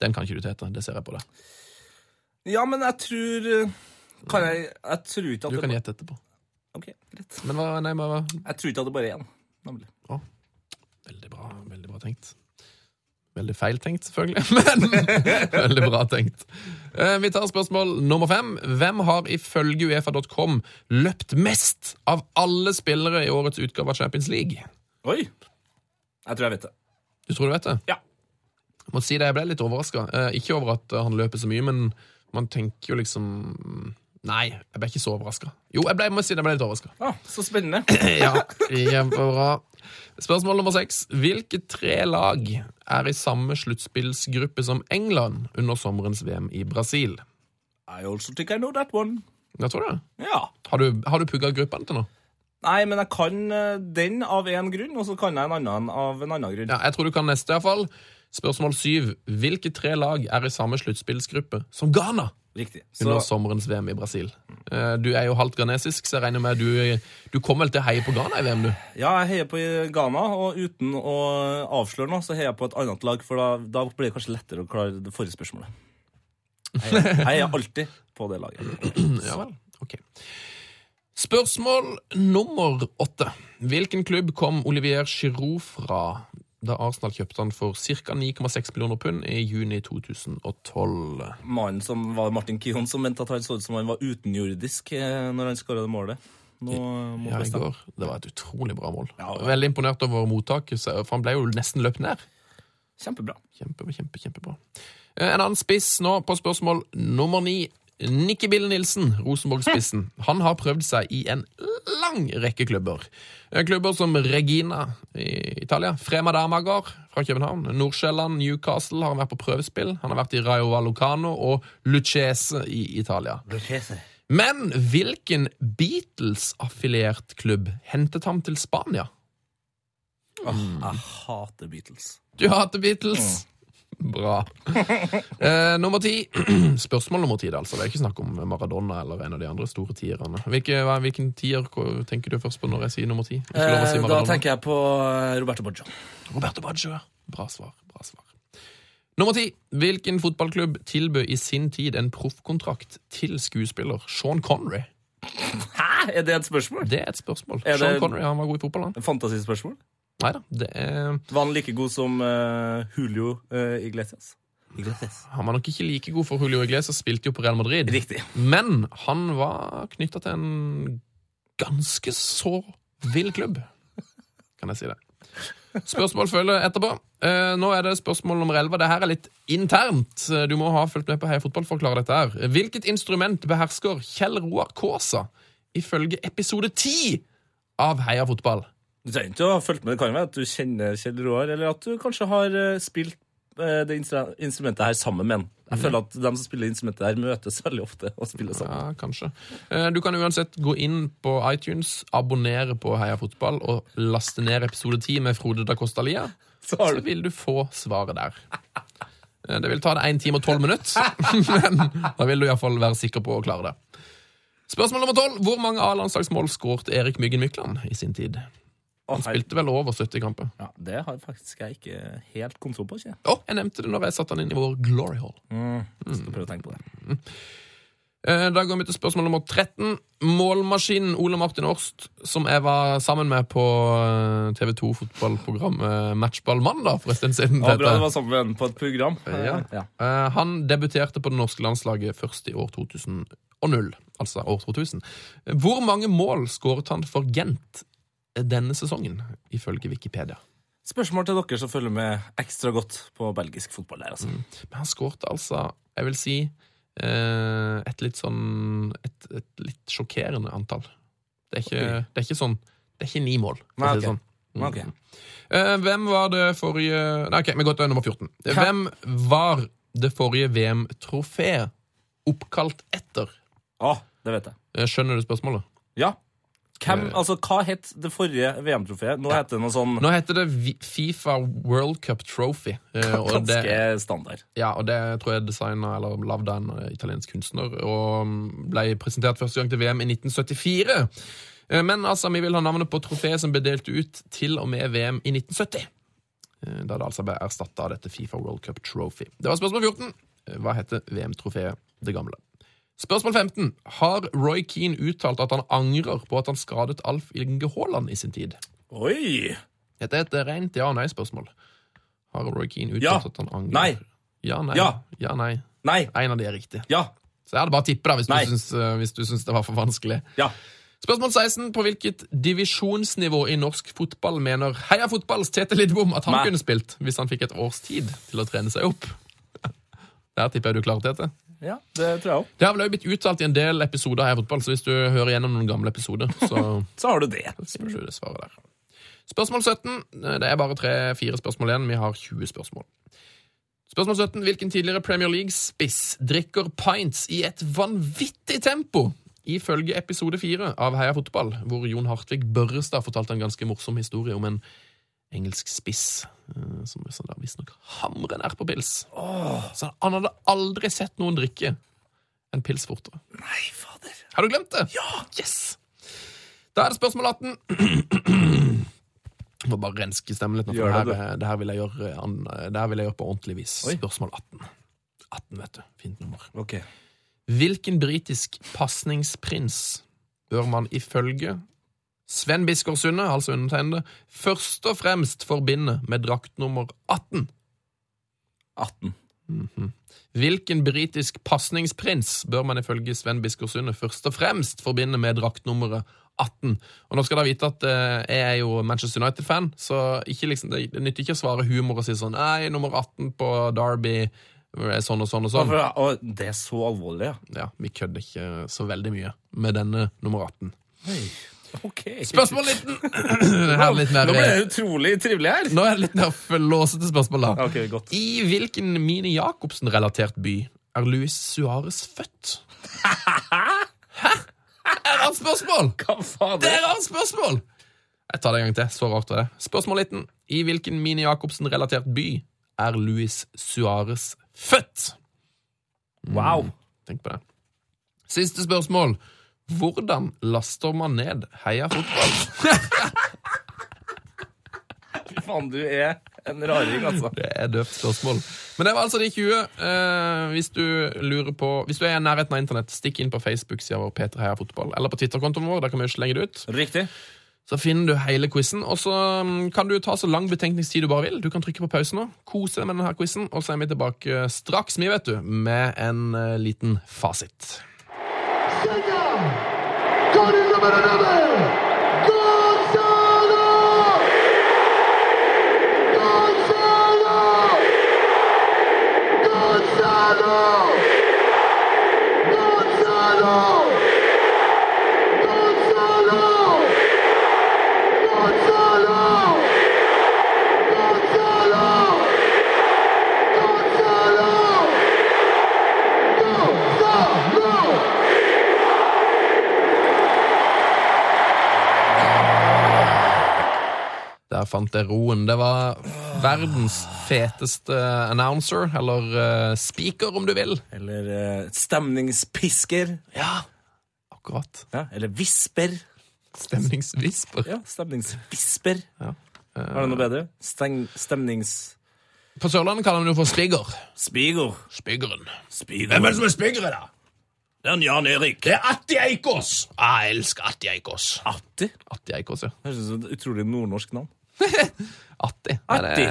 Speaker 3: Den kan ikke du tete, det ser jeg på deg.
Speaker 4: Ja, men jeg tror eh, Kan jeg Jeg tror ikke at
Speaker 3: Du
Speaker 4: det
Speaker 3: kan gjette etterpå.
Speaker 4: Ok, greit.
Speaker 3: Men hva, nei, hva, hva-
Speaker 4: Jeg tror ikke at det bare er én. nemlig.
Speaker 3: Veldig bra, veldig bra tenkt. Veldig feil tenkt, selvfølgelig, men veldig bra tenkt. Eh, Vi tar spørsmål nummer fem. Hvem har ifølge uefa.com løpt mest av alle spillere i årets utgave av Champions League?
Speaker 4: Oi! Jeg tror jeg vet det.
Speaker 3: Du tror du vet det?
Speaker 4: Ja.
Speaker 3: Jeg må si det, jeg ble litt overraska. Eh, ikke over at eh, han løper så mye, men man tenker jo liksom Nei, jeg ble ikke så overraska. Jo, jeg, ble, jeg må si det, jeg ble litt overraska.
Speaker 4: Ah, så spennende.
Speaker 3: Ja, kjempebra. Spørsmål nummer seks. Hvilke tre lag er i samme sluttspillsgruppe som England under sommerens VM i Brasil?
Speaker 4: I also think I know that one.
Speaker 3: Jeg tror det.
Speaker 4: Ja.
Speaker 3: Har du, har du pugga gruppene til nå?
Speaker 4: Nei, men jeg kan eh, den av én grunn, og så kan jeg en annen av en annen grunn.
Speaker 3: Ja, jeg tror du kan neste, iallfall. Spørsmål syv. Hvilke tre lag er i samme sluttspillsgruppe som Ghana?
Speaker 4: Riktig.
Speaker 3: under
Speaker 4: Så
Speaker 3: sommerens VM i Brasil. Eh, Du er jo halvt ghanesisk, så jeg regner med du, du kommer vel til å heie på Ghana i VM, du?
Speaker 4: ja, jeg heier på Ghana, og uten å avsløre noe, så heier jeg på et annet lag, for da, da blir det kanskje lettere å klare det forrige spørsmålet. Jeg heier- jeg heier alltid på det laget.
Speaker 3: Ja vel. Ok. Spørsmål nummer åtte. Hvilken klubb kom Olivier Giroud fra da Arsenal kjøpte han for ca. 9,6 millioner pund i juni 2012?
Speaker 4: Mannen som var Martin Kion, som mente at han så ut som han var utenjordisk eh, når han skåra det målet. Nå eh, må
Speaker 3: Ja, i
Speaker 4: bestemme.
Speaker 3: går. Det var et utrolig bra mål.
Speaker 4: Ja.
Speaker 3: Veldig imponert over mottaket, så- for han ble jo nesten løpt ned.
Speaker 4: Kjempebra.
Speaker 3: Kjempe, kjempe, kjempebra. Eh, En annen spiss nå på spørsmål nummer ni. Nikki Bille Nilsen, Rosenborg-spissen. Han har prøvd seg i en lang rekke klubber. Eh, Klubber som Regina i Italia, Frema Damager fra København, Nordsjælland, Newcastle har han vært på prøvespill. Han har vært i Raio Vallucano og Lucchese i Italia. Men hvilken Beatles-affiliert klubb hentet ham til Spania?
Speaker 4: Åh, jeg hater Beatles.
Speaker 3: Du hater Beatles. Mm. Bra. Eh, nummer ti. Spørsmål nummer ti, det er altså. Det er ikke snakk om Maradona eller en av de andre store tierne. Hvilke, hva, hvilken tier ko- tenker du først på når jeg sier nummer ti? Ikke lov å si
Speaker 4: Eh, da
Speaker 3: Maradona.
Speaker 4: tenker jeg på eh, Roberto Boggio.
Speaker 3: Roberto Baggio. ja. Bra svar. Bra svar. Nummer ti. Hvilken fotballklubb tilbød i sin tid en proffkontrakt til skuespiller Sean Connery?
Speaker 4: Hæ? Er det et spørsmål?
Speaker 3: Det er et spørsmål.
Speaker 4: Er det-
Speaker 3: Sean Connery han var god i fotball, han.
Speaker 4: Et Fantasispørsmål?
Speaker 3: Nei da. Det er...
Speaker 4: Var han like god som eh, Julio eh, Iglesias? Iglesias.
Speaker 3: Han var nok ikke like god for Julio Iglesias, spilte jo på Real Madrid.
Speaker 4: Riktig.
Speaker 3: Men han var knytta til en ganske så vill klubb, kan jeg si det. Spørsmål følger etterpå. Eh, nå er det spørsmål nummer 11. Det her er litt internt. Eh, Du må ha fulgt med på Heia Fotball for å klare dette her. Hvilket instrument behersker Kjell Roar Kaasa ifølge episode 10 av Heia Fotball?
Speaker 4: Du trenger ikke å ha fulgt med. Det kan jo være at du kjenner Kjell Roar, eller at du kanskje har eh, spilt eh, det instra- instrumentet her sammen med en. Jeg føler at de som spiller instrumentet her, møtes veldig ofte og spiller sammen.
Speaker 3: Ja, kanskje. Eh, Du kan uansett gå inn på iTunes, abonnere på Heia fotball og laste ned episode 10 med Frode da Costa Lia.
Speaker 4: Så har
Speaker 3: Så
Speaker 4: du-
Speaker 3: vil du få svaret der. Eh, Det vil ta deg 1 time og 12 minutter, men da vil du iallfall være sikker på å klare det. Spørsmål nummer 12. Hvor mange A-landslagsmål skåret Erik Myggen Mykland i sin tid?
Speaker 4: Å,
Speaker 3: Han
Speaker 4: her-
Speaker 3: spilte vel over 70 kamper.
Speaker 4: Ja, det har faktisk jeg ikke helt kontroll på. ikke jeg?
Speaker 3: Å, jeg nevnte det når jeg satte han inn i vår glory hall.
Speaker 4: Skal prøve å tenke på det.
Speaker 3: Eh, Da går vi til spørsmål nummer 13. Målmaskinen Ole Martin Årst, som jeg var sammen med på eh, TV 2-fotballprogrammet eh, Matchball mandag, for en stund siden.
Speaker 4: Ja,
Speaker 3: det
Speaker 4: bra
Speaker 3: heter.
Speaker 4: det var sammen med en på et program.
Speaker 3: Ja.
Speaker 4: Ja.
Speaker 3: Eh, Han debuterte på det norske landslaget først i år 2000, altså år 2000. Hvor mange mål skåret han for Gent denne sesongen, ifølge Wikipedia?
Speaker 4: Spørsmål til dere som følger med ekstra godt på belgisk fotball der, altså.
Speaker 3: Men han skårte altså, jeg vil si, eh, et litt sånn et, et litt sjokkerende antall. Det er ikke,
Speaker 4: Oi.
Speaker 3: det er ikke sånn Det er ikke ni mål. for
Speaker 4: Nei,
Speaker 3: å si det
Speaker 4: ok.
Speaker 3: sånn. Mm.
Speaker 4: Ok.
Speaker 3: Eh, Hvem var det forrige Nei, ok, vi går til nummer 14. Hvem var det forrige VM-trofeet oppkalt etter?
Speaker 4: Å, Ah, det vet jeg.
Speaker 3: Eh, Skjønner du spørsmålet?
Speaker 4: Ja. Hvem, altså, hva het det forrige VM-trofeet? Nå heter det noe sånn
Speaker 3: Eh. Nå heter det Vi- Fifa World Cup Trophy. eh, Og
Speaker 4: ganske
Speaker 3: det,
Speaker 4: standard.
Speaker 3: ja, og det tror jeg designa eller lagd av en eh, italiensk kunstner. Og mm, ble presentert første gang til VM i 1974. Eh, Men altså, vi vil ha navnet på trofeet som ble delt ut til og med VM i 1970. Eh, Da det altså ble erstatta av dette Fifa World Cup Trophy. Det var spørsmål 14. Eh, Hva heter VM-trofeet det gamle? Spørsmål 15. Har Roy Keane uttalt at han angrer på at han skadet Alf Inge Haaland i sin tid?
Speaker 4: Oi!
Speaker 3: Dette er et rent ja- og nei-spørsmål. Har Roy Keane uttalt
Speaker 4: Ja.
Speaker 3: at han angrer?
Speaker 4: Nei.
Speaker 3: Ja, nei.
Speaker 4: Ja.
Speaker 3: Ja, nei.
Speaker 4: Nei!
Speaker 3: En av de er riktig.
Speaker 4: Ja!
Speaker 3: Så jeg hadde bare tippet da, hvis du,
Speaker 4: Nei.
Speaker 3: syns, eh, hvis du syns det var for vanskelig.
Speaker 4: Ja!
Speaker 3: Spørsmål 16. På hvilket divisjonsnivå i norsk fotball mener Heia Fotballs Tete Lidbom at han
Speaker 4: Nei.
Speaker 3: kunne spilt hvis han fikk et års tid til å trene seg opp? Der tipper jeg du klarer Tete.
Speaker 4: ja det tror jeg òg.
Speaker 3: Det har vel også blitt uttalt i en del episoder av Heia Fotball, så hvis du hører gjennom noen gamle episoder, så
Speaker 4: Så har du det.
Speaker 3: Spør du det svaret der. Spørsmål 17. Det er bare tre-fire spørsmål igjen. Vi har 20 spørsmål. Spørsmål 17. Hvilken tidligere Premier League-spiss drikker pints i et vanvittig tempo? Ifølge episode 4 av Heia fotball, hvor Jon Hartvig Børrestad fortalte en ganske morsom historie om en engelsk spiss eh, som så da visstnok hamrer nær på pils. Så han- han hadde aldri sett noen drikke en pils fortere.
Speaker 4: Nei, fader.
Speaker 3: Har du glemt det? Ja! Yes! Da er det spørsmål 18. Jeg må bare renske stemmen litt. nå, For
Speaker 4: Gjør det,
Speaker 3: det, her, det, her vil jeg gjøre, eh, an- eh, det her vil jeg gjøre på ordentlig vis.
Speaker 4: Oi.
Speaker 3: Spørsmål 18. 18, vet du. Fint nummer.
Speaker 4: Ok.
Speaker 3: Hvilken britisk pasningsprins bør man ifølge Sven Biskår Sunde, altså undertegnede, først og fremst forbinde med draktnummer 18?
Speaker 4: 18.
Speaker 3: Hvilken britisk pasningsprins bør man ifølge Sven Biskorsune først og fremst forbinde med draktnummeret 18? Og nå skal dere vite at eh, jeg er jo Manchester United-fan, så ikke liksom, det, det nytter ikke å svare humor og si sånn Nei, nummer 18 på Derby er sånn og sånn og sånn.
Speaker 4: Å, det er så alvorlig, ja.
Speaker 3: Ja, Vi kødder ikke så veldig mye med denne nummer 18.
Speaker 4: Ok.
Speaker 3: Spørsmål 19! Her er det litt mer, eh,
Speaker 4: Nå ble det utrolig trivelig her.
Speaker 3: nå er det litt mer låsete spørsmål, da.
Speaker 4: Ok, godt.
Speaker 3: I hvilken Mini Jacobsen-relatert by er Luis Suárez født? Hæ? Er det et spørsmål?
Speaker 4: Hva faen?
Speaker 3: Det er et spørsmål! Jeg tar det en gang til. Så rart var det. Spørsmål 19. I hvilken Mini Jacobsen-relatert by er Luis Suárez født?
Speaker 4: Wow.
Speaker 3: Tenk på det. Siste spørsmål. Hvordan laster man ned Heia fotball?
Speaker 4: Fy faen, du er en raring, altså.
Speaker 3: Det er døvt spørsmål. Men det var altså de 20. Eh, hvis du lurer på Hvis du er i nærheten av internett, stikk inn på Facebook-sida vår Peter Heia Fotball, eller på Twitter-kontoen vår. Der kan vi jo slenge det ut.
Speaker 4: Riktig.
Speaker 3: Så finner du hele quizen. Og så mm, kan du ta så lang betenkningstid du bare vil. Du kan trykke på pause nå, kose deg med denne quizen, og så er vi tilbake straks, vi, vet du, med en eh, liten fasit.
Speaker 6: Sega! Gol nummer null! Gonzalo! Gonzalo! Gonzalo! Gonzalo! Gonzalo! Gonzalo! Gonzalo!
Speaker 3: fant jeg roen. Det var verdens feteste announcer, eller eh, speaker, om du vil.
Speaker 4: Eller eh, stemningspisker.
Speaker 3: Ja, akkurat.
Speaker 4: Ja, eller visper.
Speaker 3: Stemningsvisper.
Speaker 4: Ja, stemningsvisper.
Speaker 3: Ja.
Speaker 4: Var det noe bedre? Steng, stemnings...
Speaker 3: På Sørlandet kaller man jo for spigger.
Speaker 4: Spiger.
Speaker 3: Spiggeren.
Speaker 4: Spiger.
Speaker 3: som er spiggere, da?
Speaker 4: Det er Jan Erik.
Speaker 3: Det er Atti Eikås! Ah, jeg elsker Atti Eikås.
Speaker 4: Atti.
Speaker 3: Atti Eikås, ja.
Speaker 4: Høres ut som et utrolig nordnorsk navn.
Speaker 3: Atti. Er det-
Speaker 4: Atti.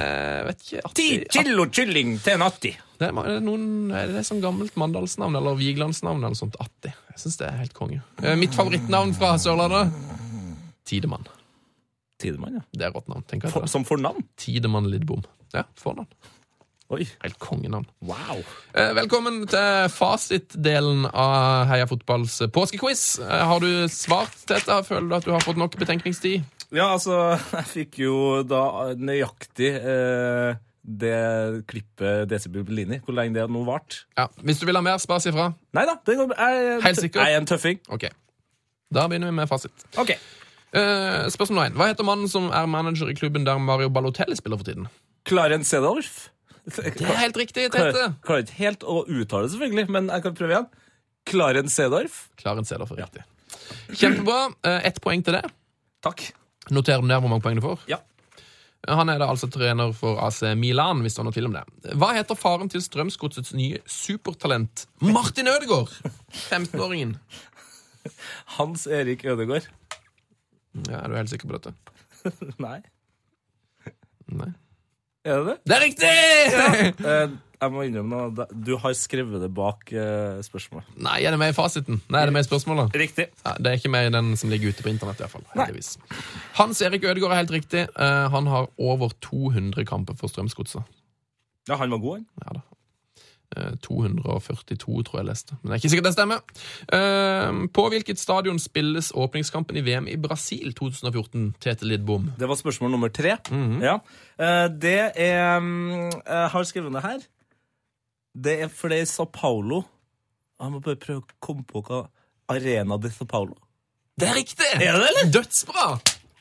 Speaker 3: Vet ikke. Atti.
Speaker 4: Ti kilo kylling til en Atti.
Speaker 3: Det er, ma- det er noen, er det sånn gammelt mandalsnavn eller Vigelandsnavn eller sånt. Atti. Jeg syns det er helt konge. Eh, Mitt favorittnavn fra Sørlandet? Tidemann.
Speaker 4: Tidemann, ja.
Speaker 3: Det er rått navn. tenker jeg. Altså,
Speaker 4: For, som fornavn.
Speaker 3: Tidemann Lidbom. Ja, fornavn.
Speaker 4: Oi.
Speaker 3: Helt kongenavn.
Speaker 4: Wow.
Speaker 3: Eh, Velkommen til fasitdelen av Heia fotballs påskequiz. Eh, Har du svart til dette? Føler du at du har fått nok betenkningstid?
Speaker 4: Ja, altså, jeg fikk jo da nøyaktig eh, det klippet Desibel Bellini, hvor lenge det nå vart.
Speaker 3: Ja. Hvis du vil ha mer, bare si fra.
Speaker 4: Nei da, det går bra. Jeg-
Speaker 3: Helt sikker?
Speaker 4: Jeg er en tøffing.
Speaker 3: Ok. Da begynner vi med fasit.
Speaker 4: Ok.
Speaker 3: Eh, spørsmål 1. Hva heter mannen som er manager i klubben der Mario Balotelli spiller for tiden?
Speaker 4: Clarence Sedorf.
Speaker 3: Det er helt riktig, Tete.
Speaker 4: Klarer klarer ikke helt å uttale det, selvfølgelig, men jeg kan prøve igjen. Clarence Sedorf.
Speaker 3: Klaren ser for riktig. Kjempebra. Eh, Ett poeng til det.
Speaker 4: Takk.
Speaker 3: Noter du ned hvor mange poeng du får?
Speaker 4: Ja.
Speaker 3: Han er da altså trener for AC Milan, hvis det er noe tvil om det. Hva heter faren til Strømsgodsets nye supertalent Martin Ødegaard? 15-åringen.
Speaker 4: Hans Erik Ødegaard.
Speaker 3: Ja, er du helt sikker på dette?
Speaker 4: Nei.
Speaker 3: Nei.
Speaker 4: Er det det?
Speaker 3: Det er riktig!
Speaker 4: Eh, jeg må innrømme noe. Da- Du har skrevet det bak eh, spørsmålet.
Speaker 3: Nei, er det med i fasiten? Nei, er det med i spørsmålet?
Speaker 4: Riktig.
Speaker 3: Ja, det er ikke med i den som ligger ute på internett, i hvert fall. Heldigvis. Hans Erik Ødegaard er helt riktig. Eh, han har over 200 kamper for Strømsgodset.
Speaker 4: Ja, han var god, han.
Speaker 3: Ja da. Eh, 242, tror jeg leste. Men det er ikke sikkert det stemmer. Eh, På hvilket stadion spilles åpningskampen i VM i Brasil 2014, Tete Lidbom?
Speaker 4: Det var spørsmål nummer tre.
Speaker 3: Mhm.
Speaker 4: ja. Eh, det er mm, Jeg har skrevet det her. Det er for det er i Sao Paulo. Jeg må bare prøve å komme på hva Arena de Sao Paulo.
Speaker 3: Det er riktig!
Speaker 4: Er det, eller?
Speaker 3: Dødsbra!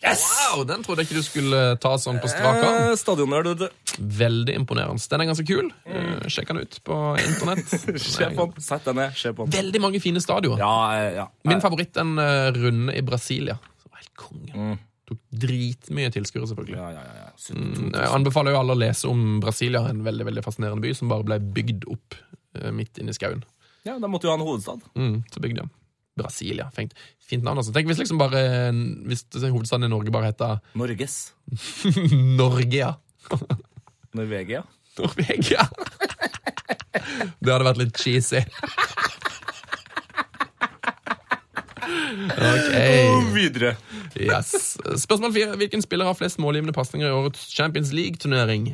Speaker 3: Wow, Den trodde jeg ikke du skulle ta sånn på strak arm.
Speaker 4: Eh, Stadionnerd. du-
Speaker 3: Veldig imponerende. Den er ganske kul. Eh, Sjekk den ut på internett.
Speaker 4: Se på han. Sett deg ned. Se på han.
Speaker 3: Veldig mange fine stadioner.
Speaker 4: Ja, eh, ja.
Speaker 3: Min favoritt er en eh, runde i Brasilia. Som var helt konge. Tok dritmye tilskuere, selvfølgelig.
Speaker 4: ja, ja, ja, ja.
Speaker 3: Jeg anbefaler jo alle å lese om Brasilia, en veldig veldig fascinerende by som bare ble bygd opp eh, midt inne i skauen.
Speaker 4: ja, da måtte jo ha en hovedstad.
Speaker 3: Mm, så bygde de. Brasilia. Fint, fint navn, altså. Tenk hvis liksom bare Hvis hovedstaden i Norge bare heter
Speaker 4: Norges.
Speaker 3: Norgea.
Speaker 4: Norvegia.
Speaker 3: Norvegia. Det hadde vært litt cheesy. Ok.
Speaker 4: Videre.
Speaker 3: Yes. Spørsmål fire. Hvilken spiller har flest målgivende pasninger i årets Champions League-turnering?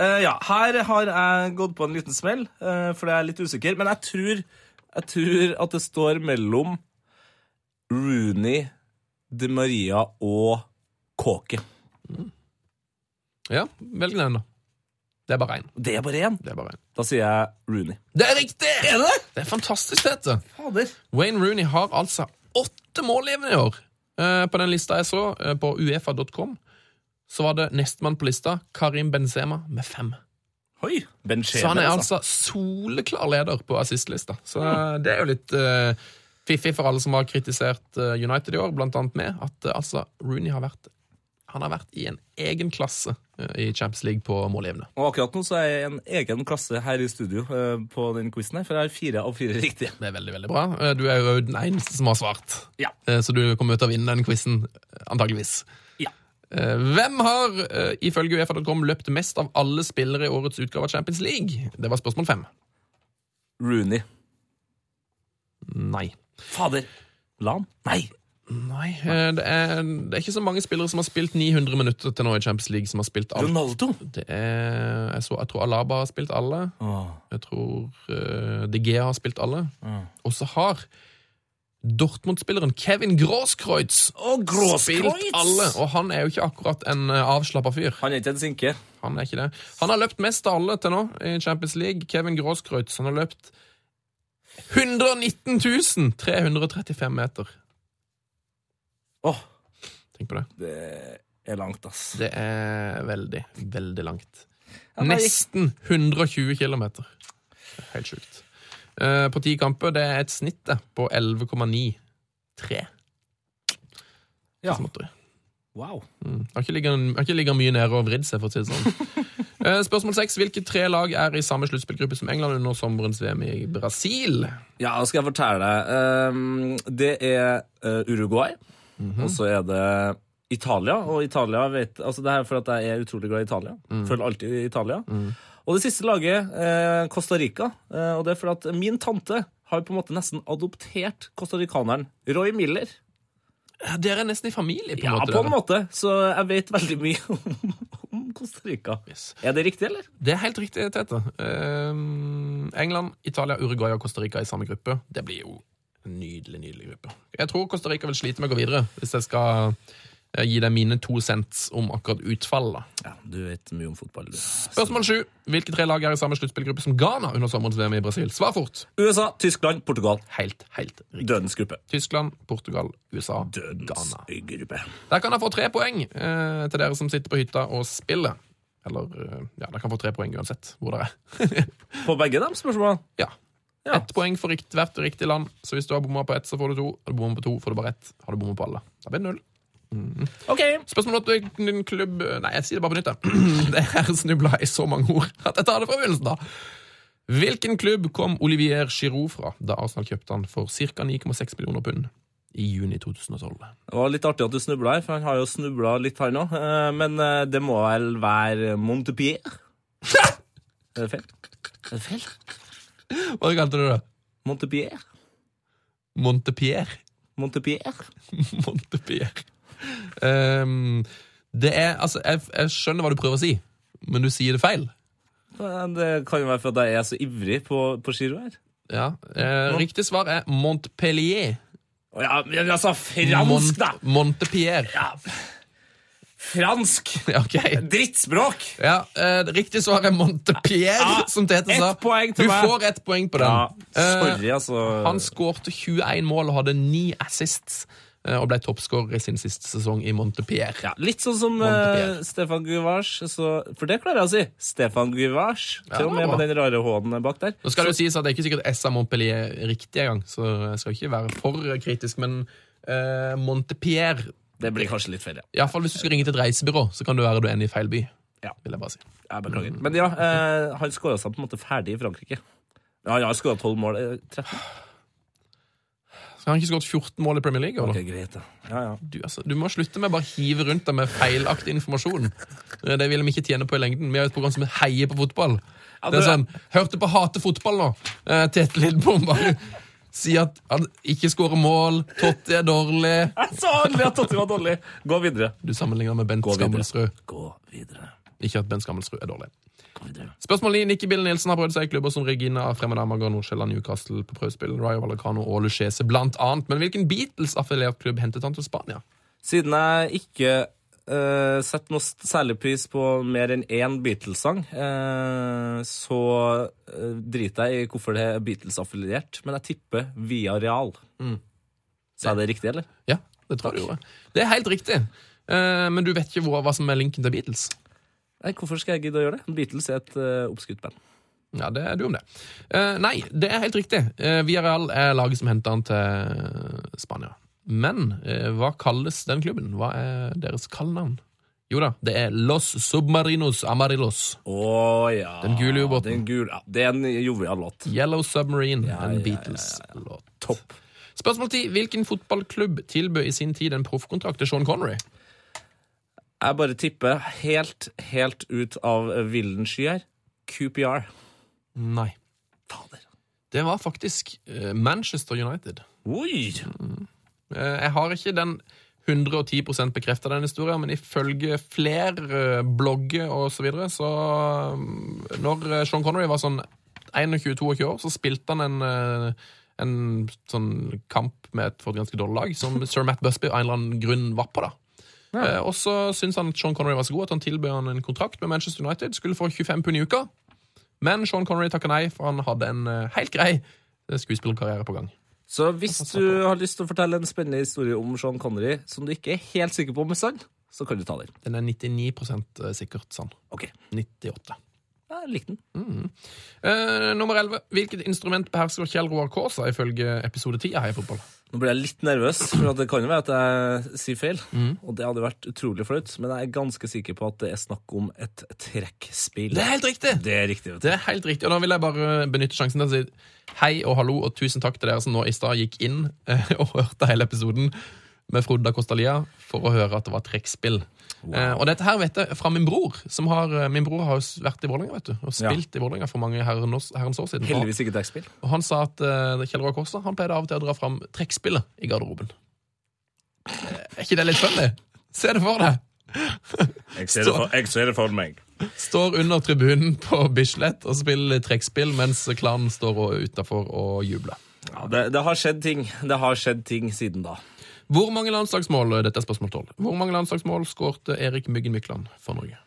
Speaker 4: Eh, ja, her har jeg gått på en liten smell, eh, for jeg er litt usikker. Men jeg tror, jeg tror at det står mellom Rooney, De Maria og Kåke.
Speaker 3: Ja, velg den, da. Det er bare én.
Speaker 4: Det er bare én.
Speaker 3: Det er bare én.
Speaker 4: Da sier jeg Rooney.
Speaker 3: Det er riktig! Er det? det er fantastisk, Tete.
Speaker 4: Fader.
Speaker 3: Wayne Rooney har altså åtte målgivende i år. Eh, på den lista jeg så, eh, på uefa.com, så var det nestemann på lista, Karim Benzema, med fem.
Speaker 4: Oi. Ben
Speaker 3: Så han
Speaker 4: Sheman,
Speaker 3: er
Speaker 4: altså.
Speaker 3: altså soleklar leder på assistlista. Så det er jo litt eh, fiffig for alle som har kritisert eh, United i år, blant annet med at eh, altså, Rooney har vært han har vært i en egen klasse eh, i Champions League på målgivende.
Speaker 4: Og akkurat nå så er jeg i en egen klasse her i studio eh, på den quizen her, for jeg har fire av fire riktige.
Speaker 3: Det er veldig, veldig bra. Eh, Du er jo den eneste som har svart,
Speaker 4: Ja.
Speaker 3: Eh, så du kommer til å vinne den quizen, eh, antageligvis.
Speaker 4: Ja.
Speaker 3: Eh, Hvem har, eh, ifølge Uefa.com, løpt mest av alle spillere i årets utgave av Champions League? Det var spørsmål fem.
Speaker 4: Rooney.
Speaker 3: Nei.
Speaker 4: Fader. Lan? Nei.
Speaker 3: Nei, eh, det er, det er ikke så mange spillere som har spilt 900 minutter til nå i Champions League. som har spilt alt.
Speaker 4: Ronaldo.
Speaker 3: Det er, jeg, så, jeg tror Alaba har spilt alle. Jeg tror eh, De Gea har spilt alle. Og så har Dortmund-spilleren Kevin Grosskreutz
Speaker 4: Og
Speaker 3: spilt alle. Og han er jo ikke akkurat en eh, avslappa fyr.
Speaker 4: Han er ikke en sinke.
Speaker 3: Han er ikke det. Han har løpt mest av alle til nå i Champions League. Kevin Grosskreutz. Han har løpt 119 335 meter.
Speaker 4: Åh,
Speaker 3: Tenk på det.
Speaker 4: det er langt, ass.
Speaker 3: Det er veldig, veldig langt.
Speaker 4: da gikk-
Speaker 3: Nesten 120 km. Helt sjukt. Eh, på ti kamper det er et snitt det, på 11,93
Speaker 4: Ja.
Speaker 3: kilometer.
Speaker 4: Wow.
Speaker 3: Mm. Har ikke ligget- har ikke ligget mye nede og vridd seg, for å si det sånn. Eh, Spørsmål seks. Hvilke tre lag er i samme sluttspillgruppe som England under sommerens VM i Brasil?
Speaker 4: Ja, da skal jeg fortelle deg. Um, det er uh, Uruguay, og så er det Italia. Og Italia vet, altså det her er for at jeg er utrolig glad i Italia. Følger alltid Italia. Og det siste laget, eh, Costa Rica. Eh, og det er for at min tante har på en måte nesten adoptert costaricaneren Roy Miller.
Speaker 3: Ja, Dere er nesten i familie, på en
Speaker 4: Ja,
Speaker 3: måte.
Speaker 4: på en
Speaker 3: dere.
Speaker 4: måte. Så jeg vet veldig mye om, om Costa Rica.
Speaker 3: Yes.
Speaker 4: Er det riktig, eller?
Speaker 3: Det er helt riktig, Tete. Ehm, England, Italia, Uruguay og Costa Rica i samme gruppe. Det blir jo en nydelig, nydelig gruppe. Jeg tror Costa Rica vil slite med å gå videre, hvis jeg skal eh, gi deg mine to cents om akkurat utfallet.
Speaker 4: Ja, du vet mye om fotball, du.
Speaker 3: Spørsmål sju. Hvilke tre lag er i samme sluttspillgruppe som Ghana under sommerens VM i Brasil? Svar fort.
Speaker 4: USA, Tyskland, Portugal.
Speaker 3: Helt, helt riktig.
Speaker 4: Dødens gruppe.
Speaker 3: Tyskland, Portugal, USA,
Speaker 4: Dødens
Speaker 3: Ghana.
Speaker 4: gruppe.
Speaker 3: Der kan jeg få tre poeng eh, til dere som sitter på hytta og spiller. Eller eh, ja, dere kan få tre poeng uansett hvor dere er.
Speaker 4: På begge de spørsmålene?
Speaker 3: Ja.
Speaker 4: Ja.
Speaker 3: Ett poeng for rikt, hvert riktig land. Så hvis du har bomma på ett, så får du to. Har du bomma på to, får du bare ett. Har du bomma på alle, da blir det null. Mm.
Speaker 4: OK.
Speaker 3: Spørsmål om hvilken klubb Nei, jeg sier det bare på nytt. jeg. Det her snubla jeg i så mange ord at jeg tar det fra begynnelsen, da. Hvilken klubb kom Olivier Giroud fra da Arsenal kjøpte han for ca. 9,6 millioner pund i juni 2012?
Speaker 4: Det var litt artig at du snubla her, for han har jo snubla litt, han òg. Men eh, det må vel være Montepierre? Er det feil? Er det feil?
Speaker 3: Hva kalte du det?
Speaker 4: Montepierre?
Speaker 3: Montepierre?
Speaker 4: Montepierre?
Speaker 3: Montepierre. Ehm, det er Altså, jeg, jeg skjønner hva du prøver å si, men du sier det feil.
Speaker 4: Eh, Det kan jo være for at jeg er så ivrig på, på Giro her.
Speaker 3: Ja, eh, Riktig svar er Montpellier.
Speaker 4: Å Ja, men altså, fransk, da!
Speaker 3: Mont- Montepierre.
Speaker 4: Ja. Fransk!
Speaker 3: Ja, ok.
Speaker 4: Drittspråk!
Speaker 3: Ja, eh, riktig svar er Montepierre,
Speaker 4: Ja,
Speaker 3: som Tete
Speaker 4: ett
Speaker 3: sa.
Speaker 4: poeng til
Speaker 3: du
Speaker 4: meg.
Speaker 3: får ett poeng på den.
Speaker 4: Ja,
Speaker 3: Eh,
Speaker 4: sorry, altså.
Speaker 3: han skårte 21 mål og hadde 9 assists, eh, og ble toppskårer i sin siste sesong i Montepierre.
Speaker 4: Ja, litt sånn som
Speaker 3: Montepierre.
Speaker 4: eh, Stefan Guvars, så, for det klarer jeg å si. Stefan Guvars,
Speaker 3: Ja,
Speaker 4: til og
Speaker 3: det
Speaker 4: med
Speaker 3: var
Speaker 4: med den rare H-en bak der.
Speaker 3: Nå skal det jo sies at Det er ikke sikkert SA Montpellier er riktig engang, så jeg skal ikke være for kritisk, men eh, Montepierre
Speaker 4: Det blir kanskje litt feil, ja.
Speaker 3: Iallfall hvis du skal ringe til et reisebyrå, så kan det være du ender i feil by.
Speaker 4: Ja.
Speaker 3: Vil jeg bare si.
Speaker 4: Jeg beklager.
Speaker 3: Mm.
Speaker 4: Men ja, eh, han skåra seg på en måte ferdig i Frankrike. Ja, han har skåra tolv mål. eh, 13.
Speaker 3: Så har han ikke skåret 14 mål i Premier League? Eller?
Speaker 4: Ok, greit, da. Ja, ja.
Speaker 3: Du, altså, du må slutte med å bare hive rundt deg med feilaktig informasjon. Eh, Det vil de ikke tjene på i lengden. Vi har et program som heier på fotball. Det er
Speaker 4: det-
Speaker 3: sånn, Hørte på Hate fotball nå. Eh, Tete Lidbom bare sier at han ikke skårer mål, Totti er dårlig
Speaker 4: Jeg sa aldri at Totti var dårlig! Gå videre.
Speaker 3: Du sammenligner med Bent
Speaker 4: Gå videre.
Speaker 3: Skammelsrud.
Speaker 4: Gå videre.
Speaker 3: Ikke at Bent Skammelsrud er dårlig.
Speaker 4: Gå videre.
Speaker 3: Spørsmål 9. Nikki Bill Nielsen har prøvd seg i klubber som Regina, Fremadamerga, Nordsjælland, Newcastle på prøvespill, Rayo Vallecano og Luchese blant annet. Men hvilken Beatles-affiliert klubb hentet han til Spania?
Speaker 4: Siden jeg ikke eh, setter noe st- særlig pris på mer enn én Beatles-sang, eh, så eh, driter jeg i hvorfor det er Beatles-affiliert, men jeg tipper Via Real. Så er det riktig, eller?
Speaker 3: Ja, det tror jeg du gjorde. Det er helt riktig. Eh, men du vet ikke hvor, hva som er linken til Beatles.
Speaker 4: Nei, hvorfor skal jeg gidde å gjøre det? Beatles er et eh, oppskutt band.
Speaker 3: Ja, det er du om det. Eh, nei, det er helt riktig. Uh, Villarreal er laget som henter han til Spania. Men eh, hva kalles den klubben? Hva er deres kallenavn? Jo da, det er Los Submarinos Amarillos.
Speaker 4: Å ja.
Speaker 3: Den gule ubåten.
Speaker 4: Den gule- ja, det er en jovial låt.
Speaker 3: Yellow Submarine,
Speaker 4: ja, ja,
Speaker 3: en
Speaker 4: ja,
Speaker 3: Beatles-låt.
Speaker 4: Topp.
Speaker 3: Spørsmål 10. Hvilken fotballklubb tilbød i sin tid en proffkontrakt til Sean Connery?
Speaker 4: Jeg bare tipper helt, helt ut av villen sky her. QPR.
Speaker 3: Nei.
Speaker 4: Fader.
Speaker 3: Det var faktisk eh, Manchester United.
Speaker 4: Oi!
Speaker 3: Eh, Jeg har ikke den 110 bekrefta den historien, men ifølge flere eh, blogger og så videre, så mm, Når eh, Sean Connery var sånn 21-22 år, så spilte han en eh, en sånn kamp med et, for et ganske dårlig lag, som sir Matt Busby av en eller annen grunn var på. da. Eh, og så syntes han at Sean Connery var så god at han tilbød han en kontrakt med Manchester United. Skulle få 25 pund i uka, men Sean Connery takka nei, for han hadde en eh, helt grei eh, skuespillerkarriere på gang.
Speaker 4: Så hvis du har lyst til å fortelle en spennende historie om Sean Connery som du ikke er helt sikker på om er sann, så kan du ta den.
Speaker 3: Den er 99 sikkert sann.
Speaker 4: Ok,
Speaker 3: 98.
Speaker 4: jeg likte den.
Speaker 3: Eh, nummer 11. Hvilket instrument behersker Kjell Roar Kaasa ifølge episode 10 av Heia fotball?
Speaker 4: Nå ble jeg litt nervøs, for at det kan jo være at jeg sier feil.
Speaker 3: Mhm.
Speaker 4: Og det hadde vært utrolig flaut, men jeg er ganske sikker på at det er snakk om et trekkspill.
Speaker 3: Det er helt riktig!
Speaker 4: Det er riktig. vet du.
Speaker 3: Det er helt riktig, og da vil jeg bare benytte sjansen til å si hei og hallo og tusen takk til dere som nå i stad gikk inn eh, og hørte hele episoden med Frode da Costalia for å høre at det var trekkspill. Eh, og dette her vet jeg fra min bror. Som har, eh, min bror har jo s- vært i Vålerenga vet du, og spilt i Vålerenga for mange herrenos- herrens år siden. Og,
Speaker 4: Heldigvis ikke trekkspill.
Speaker 3: og han sa at eh, Kjell Roar Kosta han pleide av og til å dra fram trekkspillet i garderoben. Eh, er ikke det litt funny? Se det for deg!
Speaker 4: Jeg
Speaker 3: ser det for-
Speaker 4: meg.
Speaker 3: Står under tribunen på Bislett og spiller trekkspill mens klanen står utafor og jubler.
Speaker 4: Ja, det, det har skjedd ting. Det har skjedd ting siden da.
Speaker 3: Hvor mange landslagsmål eh, dette er spørsmål 12, hvor mange landslagsmål skårte Erik Myggen Mykland for Norge?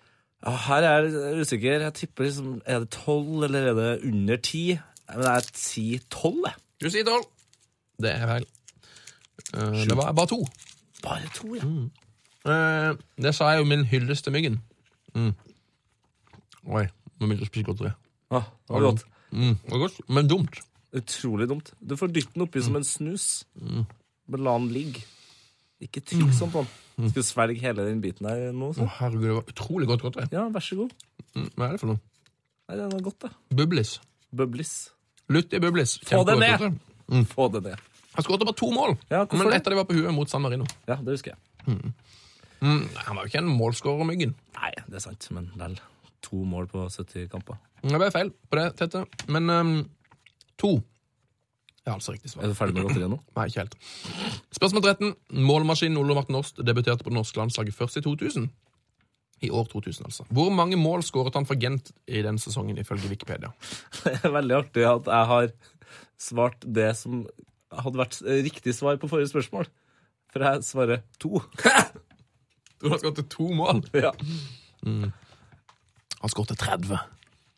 Speaker 4: Ja, Her er jeg usikker. Jeg tipper liksom, Er det tolv, eller er det under ti? Men jeg sier tolv, jeg.
Speaker 3: Du sier 12. Det er feil. Eh, det var bare to.
Speaker 4: Bare to, ja.
Speaker 3: Eh, det sa jeg jo min hyllest til Myggen. Mm. Oi, nå begynte jeg å spise godteri.
Speaker 4: Ah, det var godt.
Speaker 3: Mm, det var godt, men dumt.
Speaker 4: Utrolig dumt. Du får dytte den oppi som en snus. Bare la den ligge. Ikke trykk sånn på den. Skal du svelge hele den biten her nå? Så?
Speaker 3: Å, herregud, det var utrolig godt godteri.
Speaker 4: Ja, vær så god.
Speaker 3: Mm, hva er det for noe?
Speaker 4: Nei, den var godt, det.
Speaker 3: Bublis.
Speaker 4: Bublis.
Speaker 3: Lutt i Bublis.
Speaker 4: Få det
Speaker 3: Kjempegodt
Speaker 4: ned!
Speaker 3: godteri.
Speaker 4: Få det ned.
Speaker 3: Han skåret bare to mål,
Speaker 4: Ja, hvorfor
Speaker 3: men
Speaker 4: det?
Speaker 3: ett av de var på huet mot San Marino.
Speaker 4: Ja, det husker jeg.
Speaker 3: Nei, Han var jo ikke en målskårer, Myggen.
Speaker 4: Nei, det er sant, men lell. To mål på 70 kamper.
Speaker 3: Det ble feil på det, Tete. Men ehm, to er altså riktig svar.
Speaker 4: Er du ferdig med godteriet nå?
Speaker 3: Nei, ikke helt. Spørsmål 13. Målmaskinen Ole Martin Åst debuterte på det norske landslaget først i 2000. I år 2000, altså. Hvor mange mål skåret han for Gent i den sesongen, ifølge Wikipedia?
Speaker 4: Det er veldig artig at jeg har svart det som hadde vært riktig svar på forrige spørsmål. For jeg svarer to.
Speaker 3: Du har skåret to mål.
Speaker 4: Ja.
Speaker 3: Han skåret 30.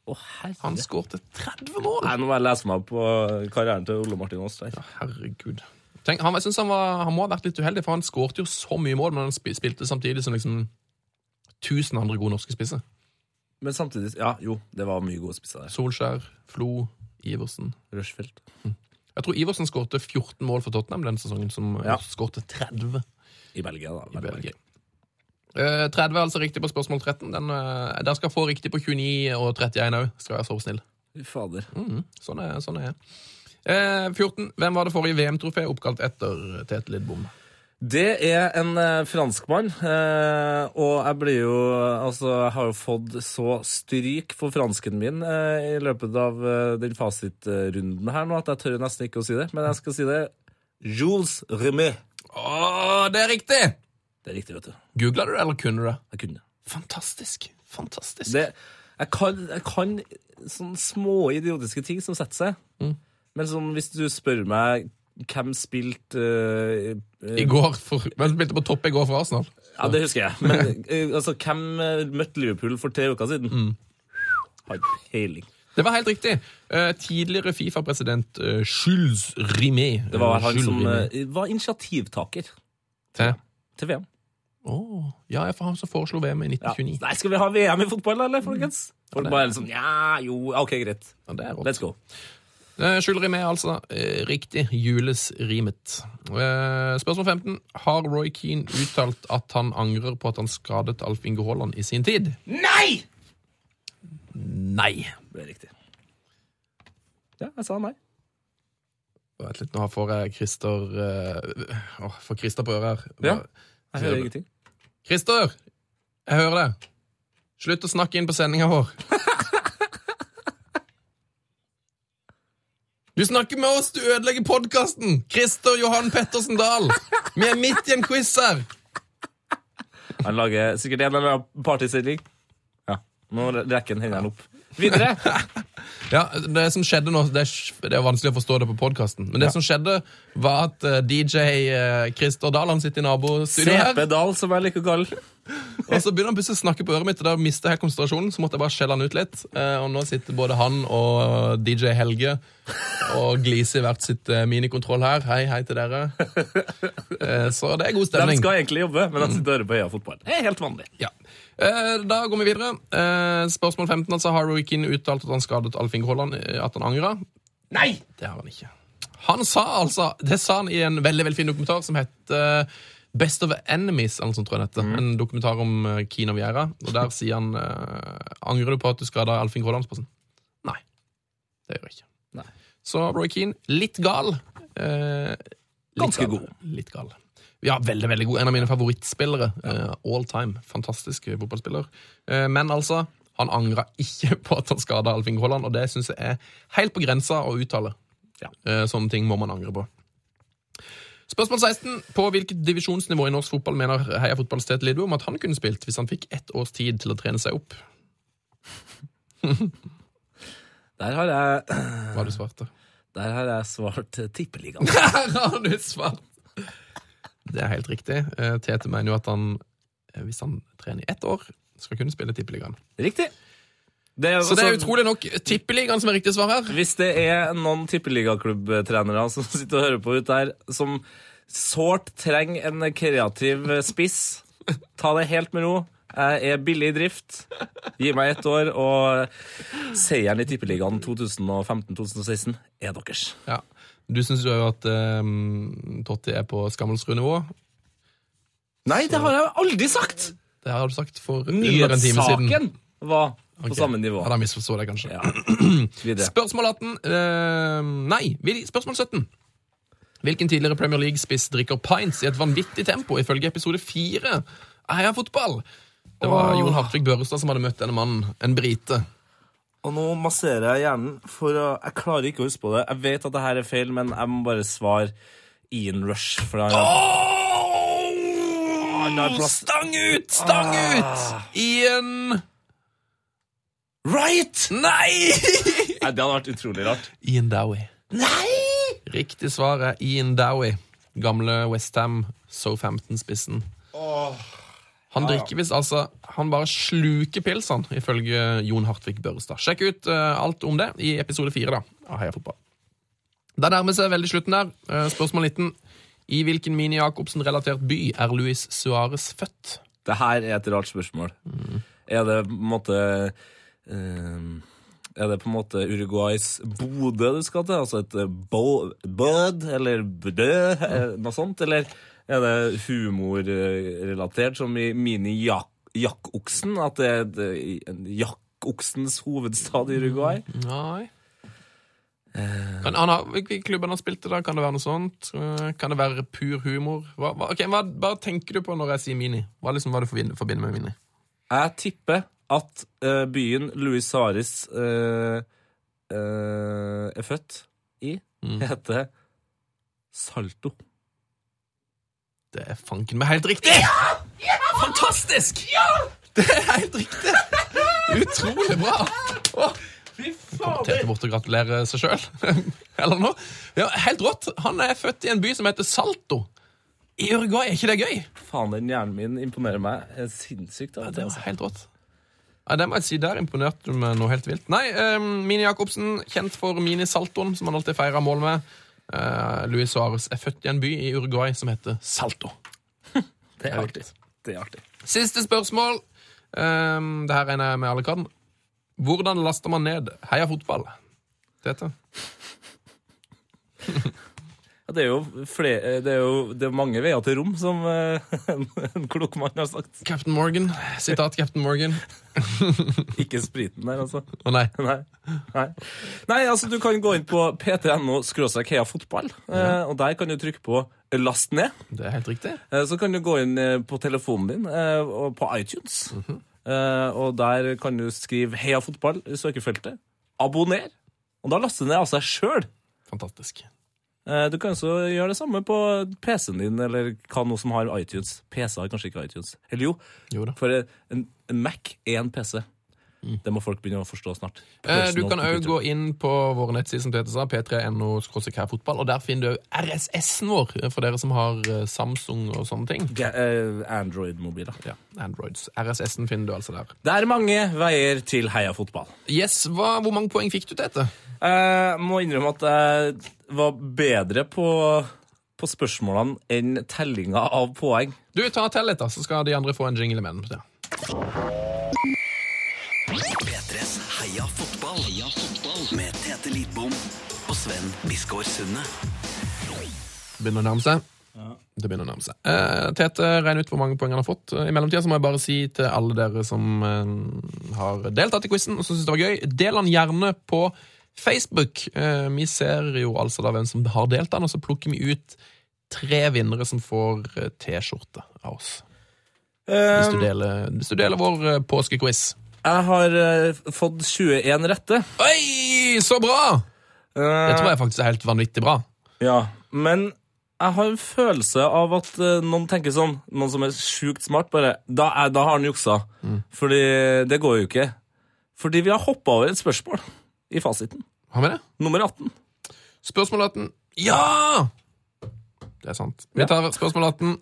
Speaker 4: Å, herre.
Speaker 3: Han skåret 30 mål!
Speaker 4: Nei, nå må jeg lese meg opp på karrieren til Ole Martin Aas. der.
Speaker 3: Herregud. Tenk, han, jeg synes han, var, han må ha vært litt uheldig, for han skårte jo så mye mål, men han spi- spilte samtidig som liksom 1000 andre gode norske spisser.
Speaker 4: Men samtidig Ja, jo, det var mye gode spisser der.
Speaker 3: Solskjær, Flo, Iversen.
Speaker 4: Rushfeldt.
Speaker 3: Jeg tror Iversen skårte 14 mål for Tottenham den sesongen, som
Speaker 4: Ja.
Speaker 3: ja. skårte 30
Speaker 4: I Belgia, da.
Speaker 3: i Belgia. Eh, 30 er altså riktig på spørsmål 13. Den, eh, der skal jeg få riktig på 29 og 31 òg, skal jeg være så snill.
Speaker 4: Fy Fader.
Speaker 3: Mhm, sånn, er, sånn er jeg. Eh, 14. Hvem var det forrige VM-trofé oppkalt etter Tete Lidbom?
Speaker 4: Det er en eh, franskmann, eh, og jeg blir jo Altså, jeg har jo fått så stryk for fransken min eh, i løpet av eh, den fasitrunden her nå at jeg tør nesten ikke å si det, men jeg skal si det. Jules Remet.
Speaker 3: Å, det er riktig!
Speaker 4: Det er riktig, vet du.
Speaker 3: Googla du det, eller kunne du det?
Speaker 4: Jeg kunne det.
Speaker 3: Fantastisk. Fantastisk.
Speaker 4: det. Jeg kan, jeg kan sånne små idiotiske ting som setter seg.
Speaker 3: Mm.
Speaker 4: Men sånn, hvis du spør meg hvem spilte eh,
Speaker 3: I går for, Hvem spilte på topp i går for Arsenal?
Speaker 4: Ja, det husker jeg. Men eh, altså, hvem eh, møtte Liverpool for tre uker siden?
Speaker 3: Mm.
Speaker 4: Har ikke peiling.
Speaker 3: Det var helt riktig. Eh, tidligere Fifa-president eh, Jules Rimet.
Speaker 4: Det var han som eh, var initiativtaker
Speaker 3: Til
Speaker 4: til VM.
Speaker 3: Åh, ja, jeg- for han som foreslo VM i
Speaker 4: Ja.
Speaker 3: 1929.
Speaker 4: Nei, skal vi ha VM i fotball, eller, folkens? Folk
Speaker 3: det-
Speaker 4: bare liksom Ja, jo, OK, greit.
Speaker 3: Ja, det er rått.
Speaker 4: Let's go.
Speaker 3: Eh, Skjul rimet, altså. Eh, riktig. Jules rimet. Eh, spørsmål 15. Har Roy Keane uttalt at han angrer på at han skadet Alf Inge Haaland i sin tid?
Speaker 4: Nei!
Speaker 3: Nei.
Speaker 4: Det er riktig. Ja, jeg sa nei.
Speaker 3: Vent litt, nå får jeg Christer eh, Åh, får Christer på øret her.
Speaker 4: Ja. Jeg
Speaker 3: hører
Speaker 4: hører ingenting.
Speaker 3: Christer! Jeg hører deg. Slutt å snakke inn på sendinga vår. Du snakker med oss, du ødelegger podkasten! Christer Johan Pettersen Dahl. Vi er midt i en quiz her!
Speaker 4: Han lager sikkert en eller annen partysending. Ja. Nå rekker han hendene opp. Videre!
Speaker 3: Ja, Det som skjedde nå, det er, det er vanskelig å forstå det på podkasten, men det som skjedde, var at eh, DJ eh, Christer Dahl han sitter i nabostudioet her.
Speaker 4: CP Dahl, som jeg liker å kalle
Speaker 3: Og så begynner han plutselig å snakke på øret mitt, og da mister jeg konsentrasjonen. Så måtte jeg bare skjelle han ut litt. Eh, Og nå sitter både han og DJ Helge og gliser i hvert sitt eh, minikontroll her. Hei, hei til dere. Eh, Så det er god
Speaker 4: De
Speaker 3: stemning.
Speaker 4: skal egentlig jobbe, men de sitter og hører på Heia fotball. Det er helt vanlig.
Speaker 3: Ja. Eh, Da går vi videre. Eh, Spørsmål 15. Altså, har Roy Keane uttalt at han skadet Alf Inge Haaland, eh, at han angrer?
Speaker 4: Nei!
Speaker 3: Det har han ikke. Han sa altså, Det sa han i en veldig veldig fin dokumentar som heter eh, Best of Enemies. eller noe sånt, tror jeg det
Speaker 4: Mm.
Speaker 3: heter. En dokumentar om eh, Keen og Viera. Og der sier han eh, Angrer du på at du skada Alfing Rålandsplassen? Nei. Det gjør jeg ikke.
Speaker 4: Nei.
Speaker 3: Så Roy Keane, litt gal. Eh, litt
Speaker 4: Ganske
Speaker 3: gal.
Speaker 4: god.
Speaker 3: Litt gal. Ja, veldig, veldig god. En av mine favorittspillere. eh, all time. Fantastisk fotballspiller. Eh, men altså, han angra ikke på at han skada Alfing Haaland, og det syns jeg er helt på grensa å uttale.
Speaker 4: Ja.
Speaker 3: Eh, sånne ting må man angre på. Spørsmål 16. På hvilket divisjonsnivå i norsk fotball mener Heia Fotballs Tete Lidbom at han kunne spilt hvis han fikk ett års tid til å trene seg opp?
Speaker 4: Der har jeg,
Speaker 3: Hva har du svart, da?
Speaker 4: der har jeg svart eh, Tippeligaen.
Speaker 3: Her har du svart! Det er helt riktig. Eh, Tete mener jo at han, eh, hvis han trener i ett år, skal kunne spille Tippeligaen.
Speaker 4: Riktig. Det er,
Speaker 3: Så det er
Speaker 4: altså-
Speaker 3: utrolig nok Tippeligaen som er riktig svar her.
Speaker 4: Hvis det er noen tippeligaklubbentrenere som sitter og hører på ut der, som sårt trenger en kreativ spiss, ta det helt med ro. Jeg er billig i drift. Gi meg ett år, og seieren i Tippeligaen 2015-2016 er deres.
Speaker 3: Ja. Du syns jo at eh, Totti er på Skammelsrud-nivå.
Speaker 4: Nei, det har jeg aldri sagt!
Speaker 3: Det har du sagt for under en time siden.
Speaker 4: Nyhetssaken var på
Speaker 3: Ok.
Speaker 4: samme nivå.
Speaker 3: Ja, da misforstår jeg kanskje.
Speaker 4: Ja. Videre.
Speaker 3: Spørsmål 18 eh, Nei, vil- spørsmål 17. Hvilken tidligere Premier League-spiss drikker pints i et vanvittig tempo, ifølge episode 4 av Heia fotball? Det var Jon Hartvig Børrestad som hadde møtt denne mannen, en brite.
Speaker 4: Og nå masserer jeg hjernen, for å- jeg klarer ikke å huske på det. Jeg vet at det her er feil, men jeg må bare svare Ian Rush. For han, han har plass
Speaker 3: Stang ut! Stang ut! I en
Speaker 4: Right!
Speaker 3: Nei!
Speaker 4: Nei, det hadde vært utrolig rart.
Speaker 3: Ian Dowie. Nei! Riktig svar er Ian Dowie. Gamle Westham, Southampton-spissen. Han drikker visst altså Han bare sluker pils, han, ifølge Jon Hartvig Børrestad. Sjekk ut eh, alt om det i episode fire da, av Heia fotball. Det nærmer seg veldig slutten der. Eh, spørsmål 19. I hvilken Mini Jacobsen-relatert by er Luis Suárez født?
Speaker 4: Det her er et rart spørsmål. Er det på en måte eh, Er det på en måte Uruguays Bodø du skal til? Altså et eh, bo, bød, eller bødø, eh, noe sånt? Eller er det humorrelatert, som i Mini-Jakkoksen? At det er et, eh, en Jakkoksens hovedstad i Uruguay?
Speaker 3: Nei kan, han har, Hvilke klubber han spilte da? Kan det være noe sånt? Eh, Kan det være pur humor? Hva, hva, ok, hva, hva tenker du på når jeg sier mini? Hva, liksom, hva du forbinder, forbinder med mini?
Speaker 4: Jeg tipper at eh, byen Louis Saris eh, eh, er født i, heter Salto.
Speaker 3: Det er fanken meg helt riktig! Fantastisk! Det er helt riktig! Utrolig bra! Åh, Kommer Tete bort og gratulerer seg sjøl? Eller noe? Ja, helt rått! Han er født i en by som heter Salto. I Uruguay, er ikke det gøy?
Speaker 4: Faen, den hjernen min imponerer meg eh, sinnssykt. av
Speaker 3: Ja,
Speaker 4: og
Speaker 3: det
Speaker 4: til,
Speaker 3: var
Speaker 4: altså.
Speaker 3: helt rått. Ja, det må jeg si, Der imponerte du meg noe helt vilt. Nei, eh, Mini Jacobsen, kjent for Mini Saltoen, som han alltid feirer mål med. Eh, Luis Suárez er født i en by i Uruguay som heter Salto.
Speaker 4: Det er
Speaker 3: er
Speaker 4: artig. Det er artig.
Speaker 3: Siste spørsmål. Um, det her regner jeg med alle kan. Hvordan laster man ned Heia fotball? Tete?
Speaker 4: Ja, det er jo, fle- eh, det er jo det er mange veier til rom, som eh, en, en klok mann har sagt.
Speaker 3: Captain Morgan. Sitat Captain Morgan.
Speaker 4: Ikke spriten der, altså.
Speaker 3: Å nei.
Speaker 4: Nei. Nei. Nei, altså du kan gå inn på pt.no skråstrek heia fotball, eh, og der kan du trykke på last ned.
Speaker 3: Det er helt riktig.
Speaker 4: Eh, Så kan du gå inn eh, på telefonen din eh, og på iTunes.
Speaker 3: Mhm.
Speaker 4: Eh, Og der kan du skrive 'Heia fotball' i søkefeltet. Abonner. Og da laster den ned av seg sjøl.
Speaker 3: Fantastisk.
Speaker 4: Du kan også gjøre det samme på PC-en din, eller hva nå som har iTunes. PC har kanskje ikke iTunes. Eller jo,
Speaker 3: Jo da.
Speaker 4: for eh, en, en Mac er en PC. Det må folk begynne å forstå snart.
Speaker 3: Mm. Eh, Du kan òg gå inn på våre nettsider som Tete sa, p3.no fotball, og der finner du òg RSS-en vår eh, for dere som har eh, Samsung og sånne ting.
Speaker 4: eh, Android-mobiler.
Speaker 3: Ja, Androids. RSS-en finner du altså der.
Speaker 4: Det er mange veier til heia fotball.
Speaker 3: Yes, hva, Hvor mange poeng fikk du, Tete?
Speaker 4: Jeg Eh, må innrømme at jeg var bedre på, på spørsmålene enn tellinga av poeng.
Speaker 3: Du, ta og tell litt, da, så skal de andre få en jingle imellom. Ja.
Speaker 2: P3s Heia fotball. Heia fotball med Tete Lidbom og Sven Biskår Sunde.
Speaker 3: Begynner å nærme seg. Det begynner å nærme seg. Eh, Tete, regn ut hvor mange poeng han har fått. I mellomtida så må jeg bare si til alle dere som eh, har deltatt i quizen og som syns det var gøy, del den gjerne på Facebook. Eh, vi ser jo altså da hvem som har deltatt, og så plukker vi ut tre vinnere som får eh, T-skjorte av oss. Hvis du deler, hvis du deler vår eh, påskequiz.
Speaker 4: Jeg har eh, fått 21 rette.
Speaker 3: Oi, så bra! Det tror jeg faktisk er helt vanvittig bra.
Speaker 4: Ja, men jeg har en følelse av at eh, noen tenker sånn, noen som er sjukt smart, bare Da, er, da har han juksa. Fordi det går jo ikke. Fordi vi har hoppa over et spørsmål i fasiten.
Speaker 3: Har vi det?
Speaker 4: Nummer 18.
Speaker 3: Spørsmål 18. Ja! Det er sant. Vi tar spørsmål 18.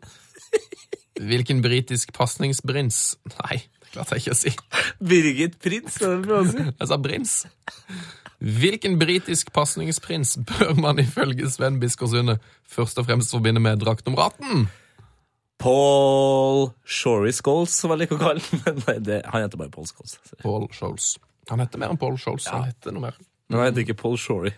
Speaker 3: Hvilken britisk pasningsbrins Nei, det klarte jeg ikke å si.
Speaker 4: Birgit Prins, er det det prøver å si?
Speaker 3: Jeg sa brins. Hvilken britisk pasningsprins bør man ifølge Sven Biskår Sunde først og fremst forbinde med drakt nummer 18?
Speaker 4: Paul Shorey Scholes, som jeg liker å kalle ham. Men nei, det, han heter bare Paul Scholes.
Speaker 3: Paul Scholes. Han heter mer enn Paul Scholes. Han heter noe mer.
Speaker 4: Men han heter ikke Paul Shorey.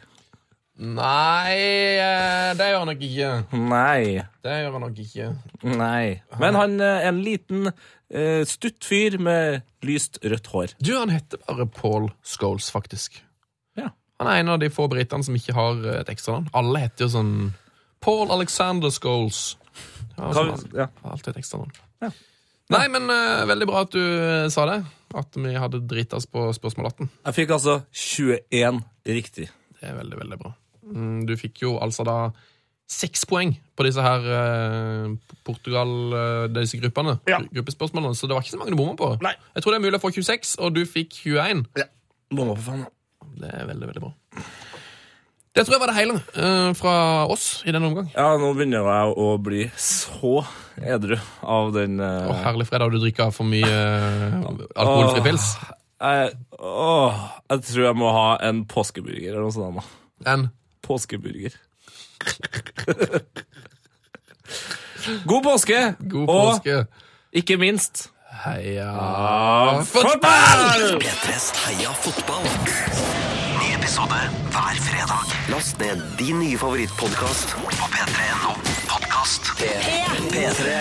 Speaker 3: Nei, eh, det gjør han nok ikke.
Speaker 4: Nei.
Speaker 3: Det gjør han nok ikke.
Speaker 4: Nei. Men han eh, er en liten, eh, stutt fyr med lyst rødt hår.
Speaker 3: Du, han heter bare Paul Scholes, faktisk.
Speaker 4: Ja.
Speaker 3: Han er en av de få britene som ikke har eh, et ekstranavn. Alle heter jo sånn Paul Alexander Scholes. Ja,
Speaker 4: Hva,
Speaker 3: sånn,
Speaker 4: ja.
Speaker 3: har alltid et ekstranavn. Nei, men eh, veldig bra at du eh, sa det. At vi hadde drita oss på spørsmål 18.
Speaker 4: Jeg fikk altså 21 riktig.
Speaker 3: Det er veldig, veldig bra. Mm, du fikk jo altså da seks poeng på disse her eh, Portugal, eh, disse gruppene,
Speaker 4: Ja.
Speaker 3: gru- gruppespørsmålene, så det var ikke så mange du bomma på.
Speaker 4: Nei.
Speaker 3: Jeg tror det er mulig å få 26, og du fikk 21.
Speaker 4: Bomma på faen. da.
Speaker 3: Det er veldig, veldig bra. Det tror jeg var det hele eh, fra oss i denne omgang.
Speaker 4: Ja, nå begynner jeg å bli så edru av den eh,
Speaker 3: Å, herlig fredag, du drikker for mye eh, alkoholfri pils.
Speaker 4: jeg, åh, jeg tror jeg må ha en påskeburger eller noe sånt. da.
Speaker 3: En
Speaker 4: Påskeburger. God påske!
Speaker 3: god påske.
Speaker 4: Og ikke minst
Speaker 3: Heia
Speaker 4: fotball!
Speaker 2: P3s Heia fotball. Ny episode hver fredag. Last ned din nye favorittpodkast på p3.no podkast. P3.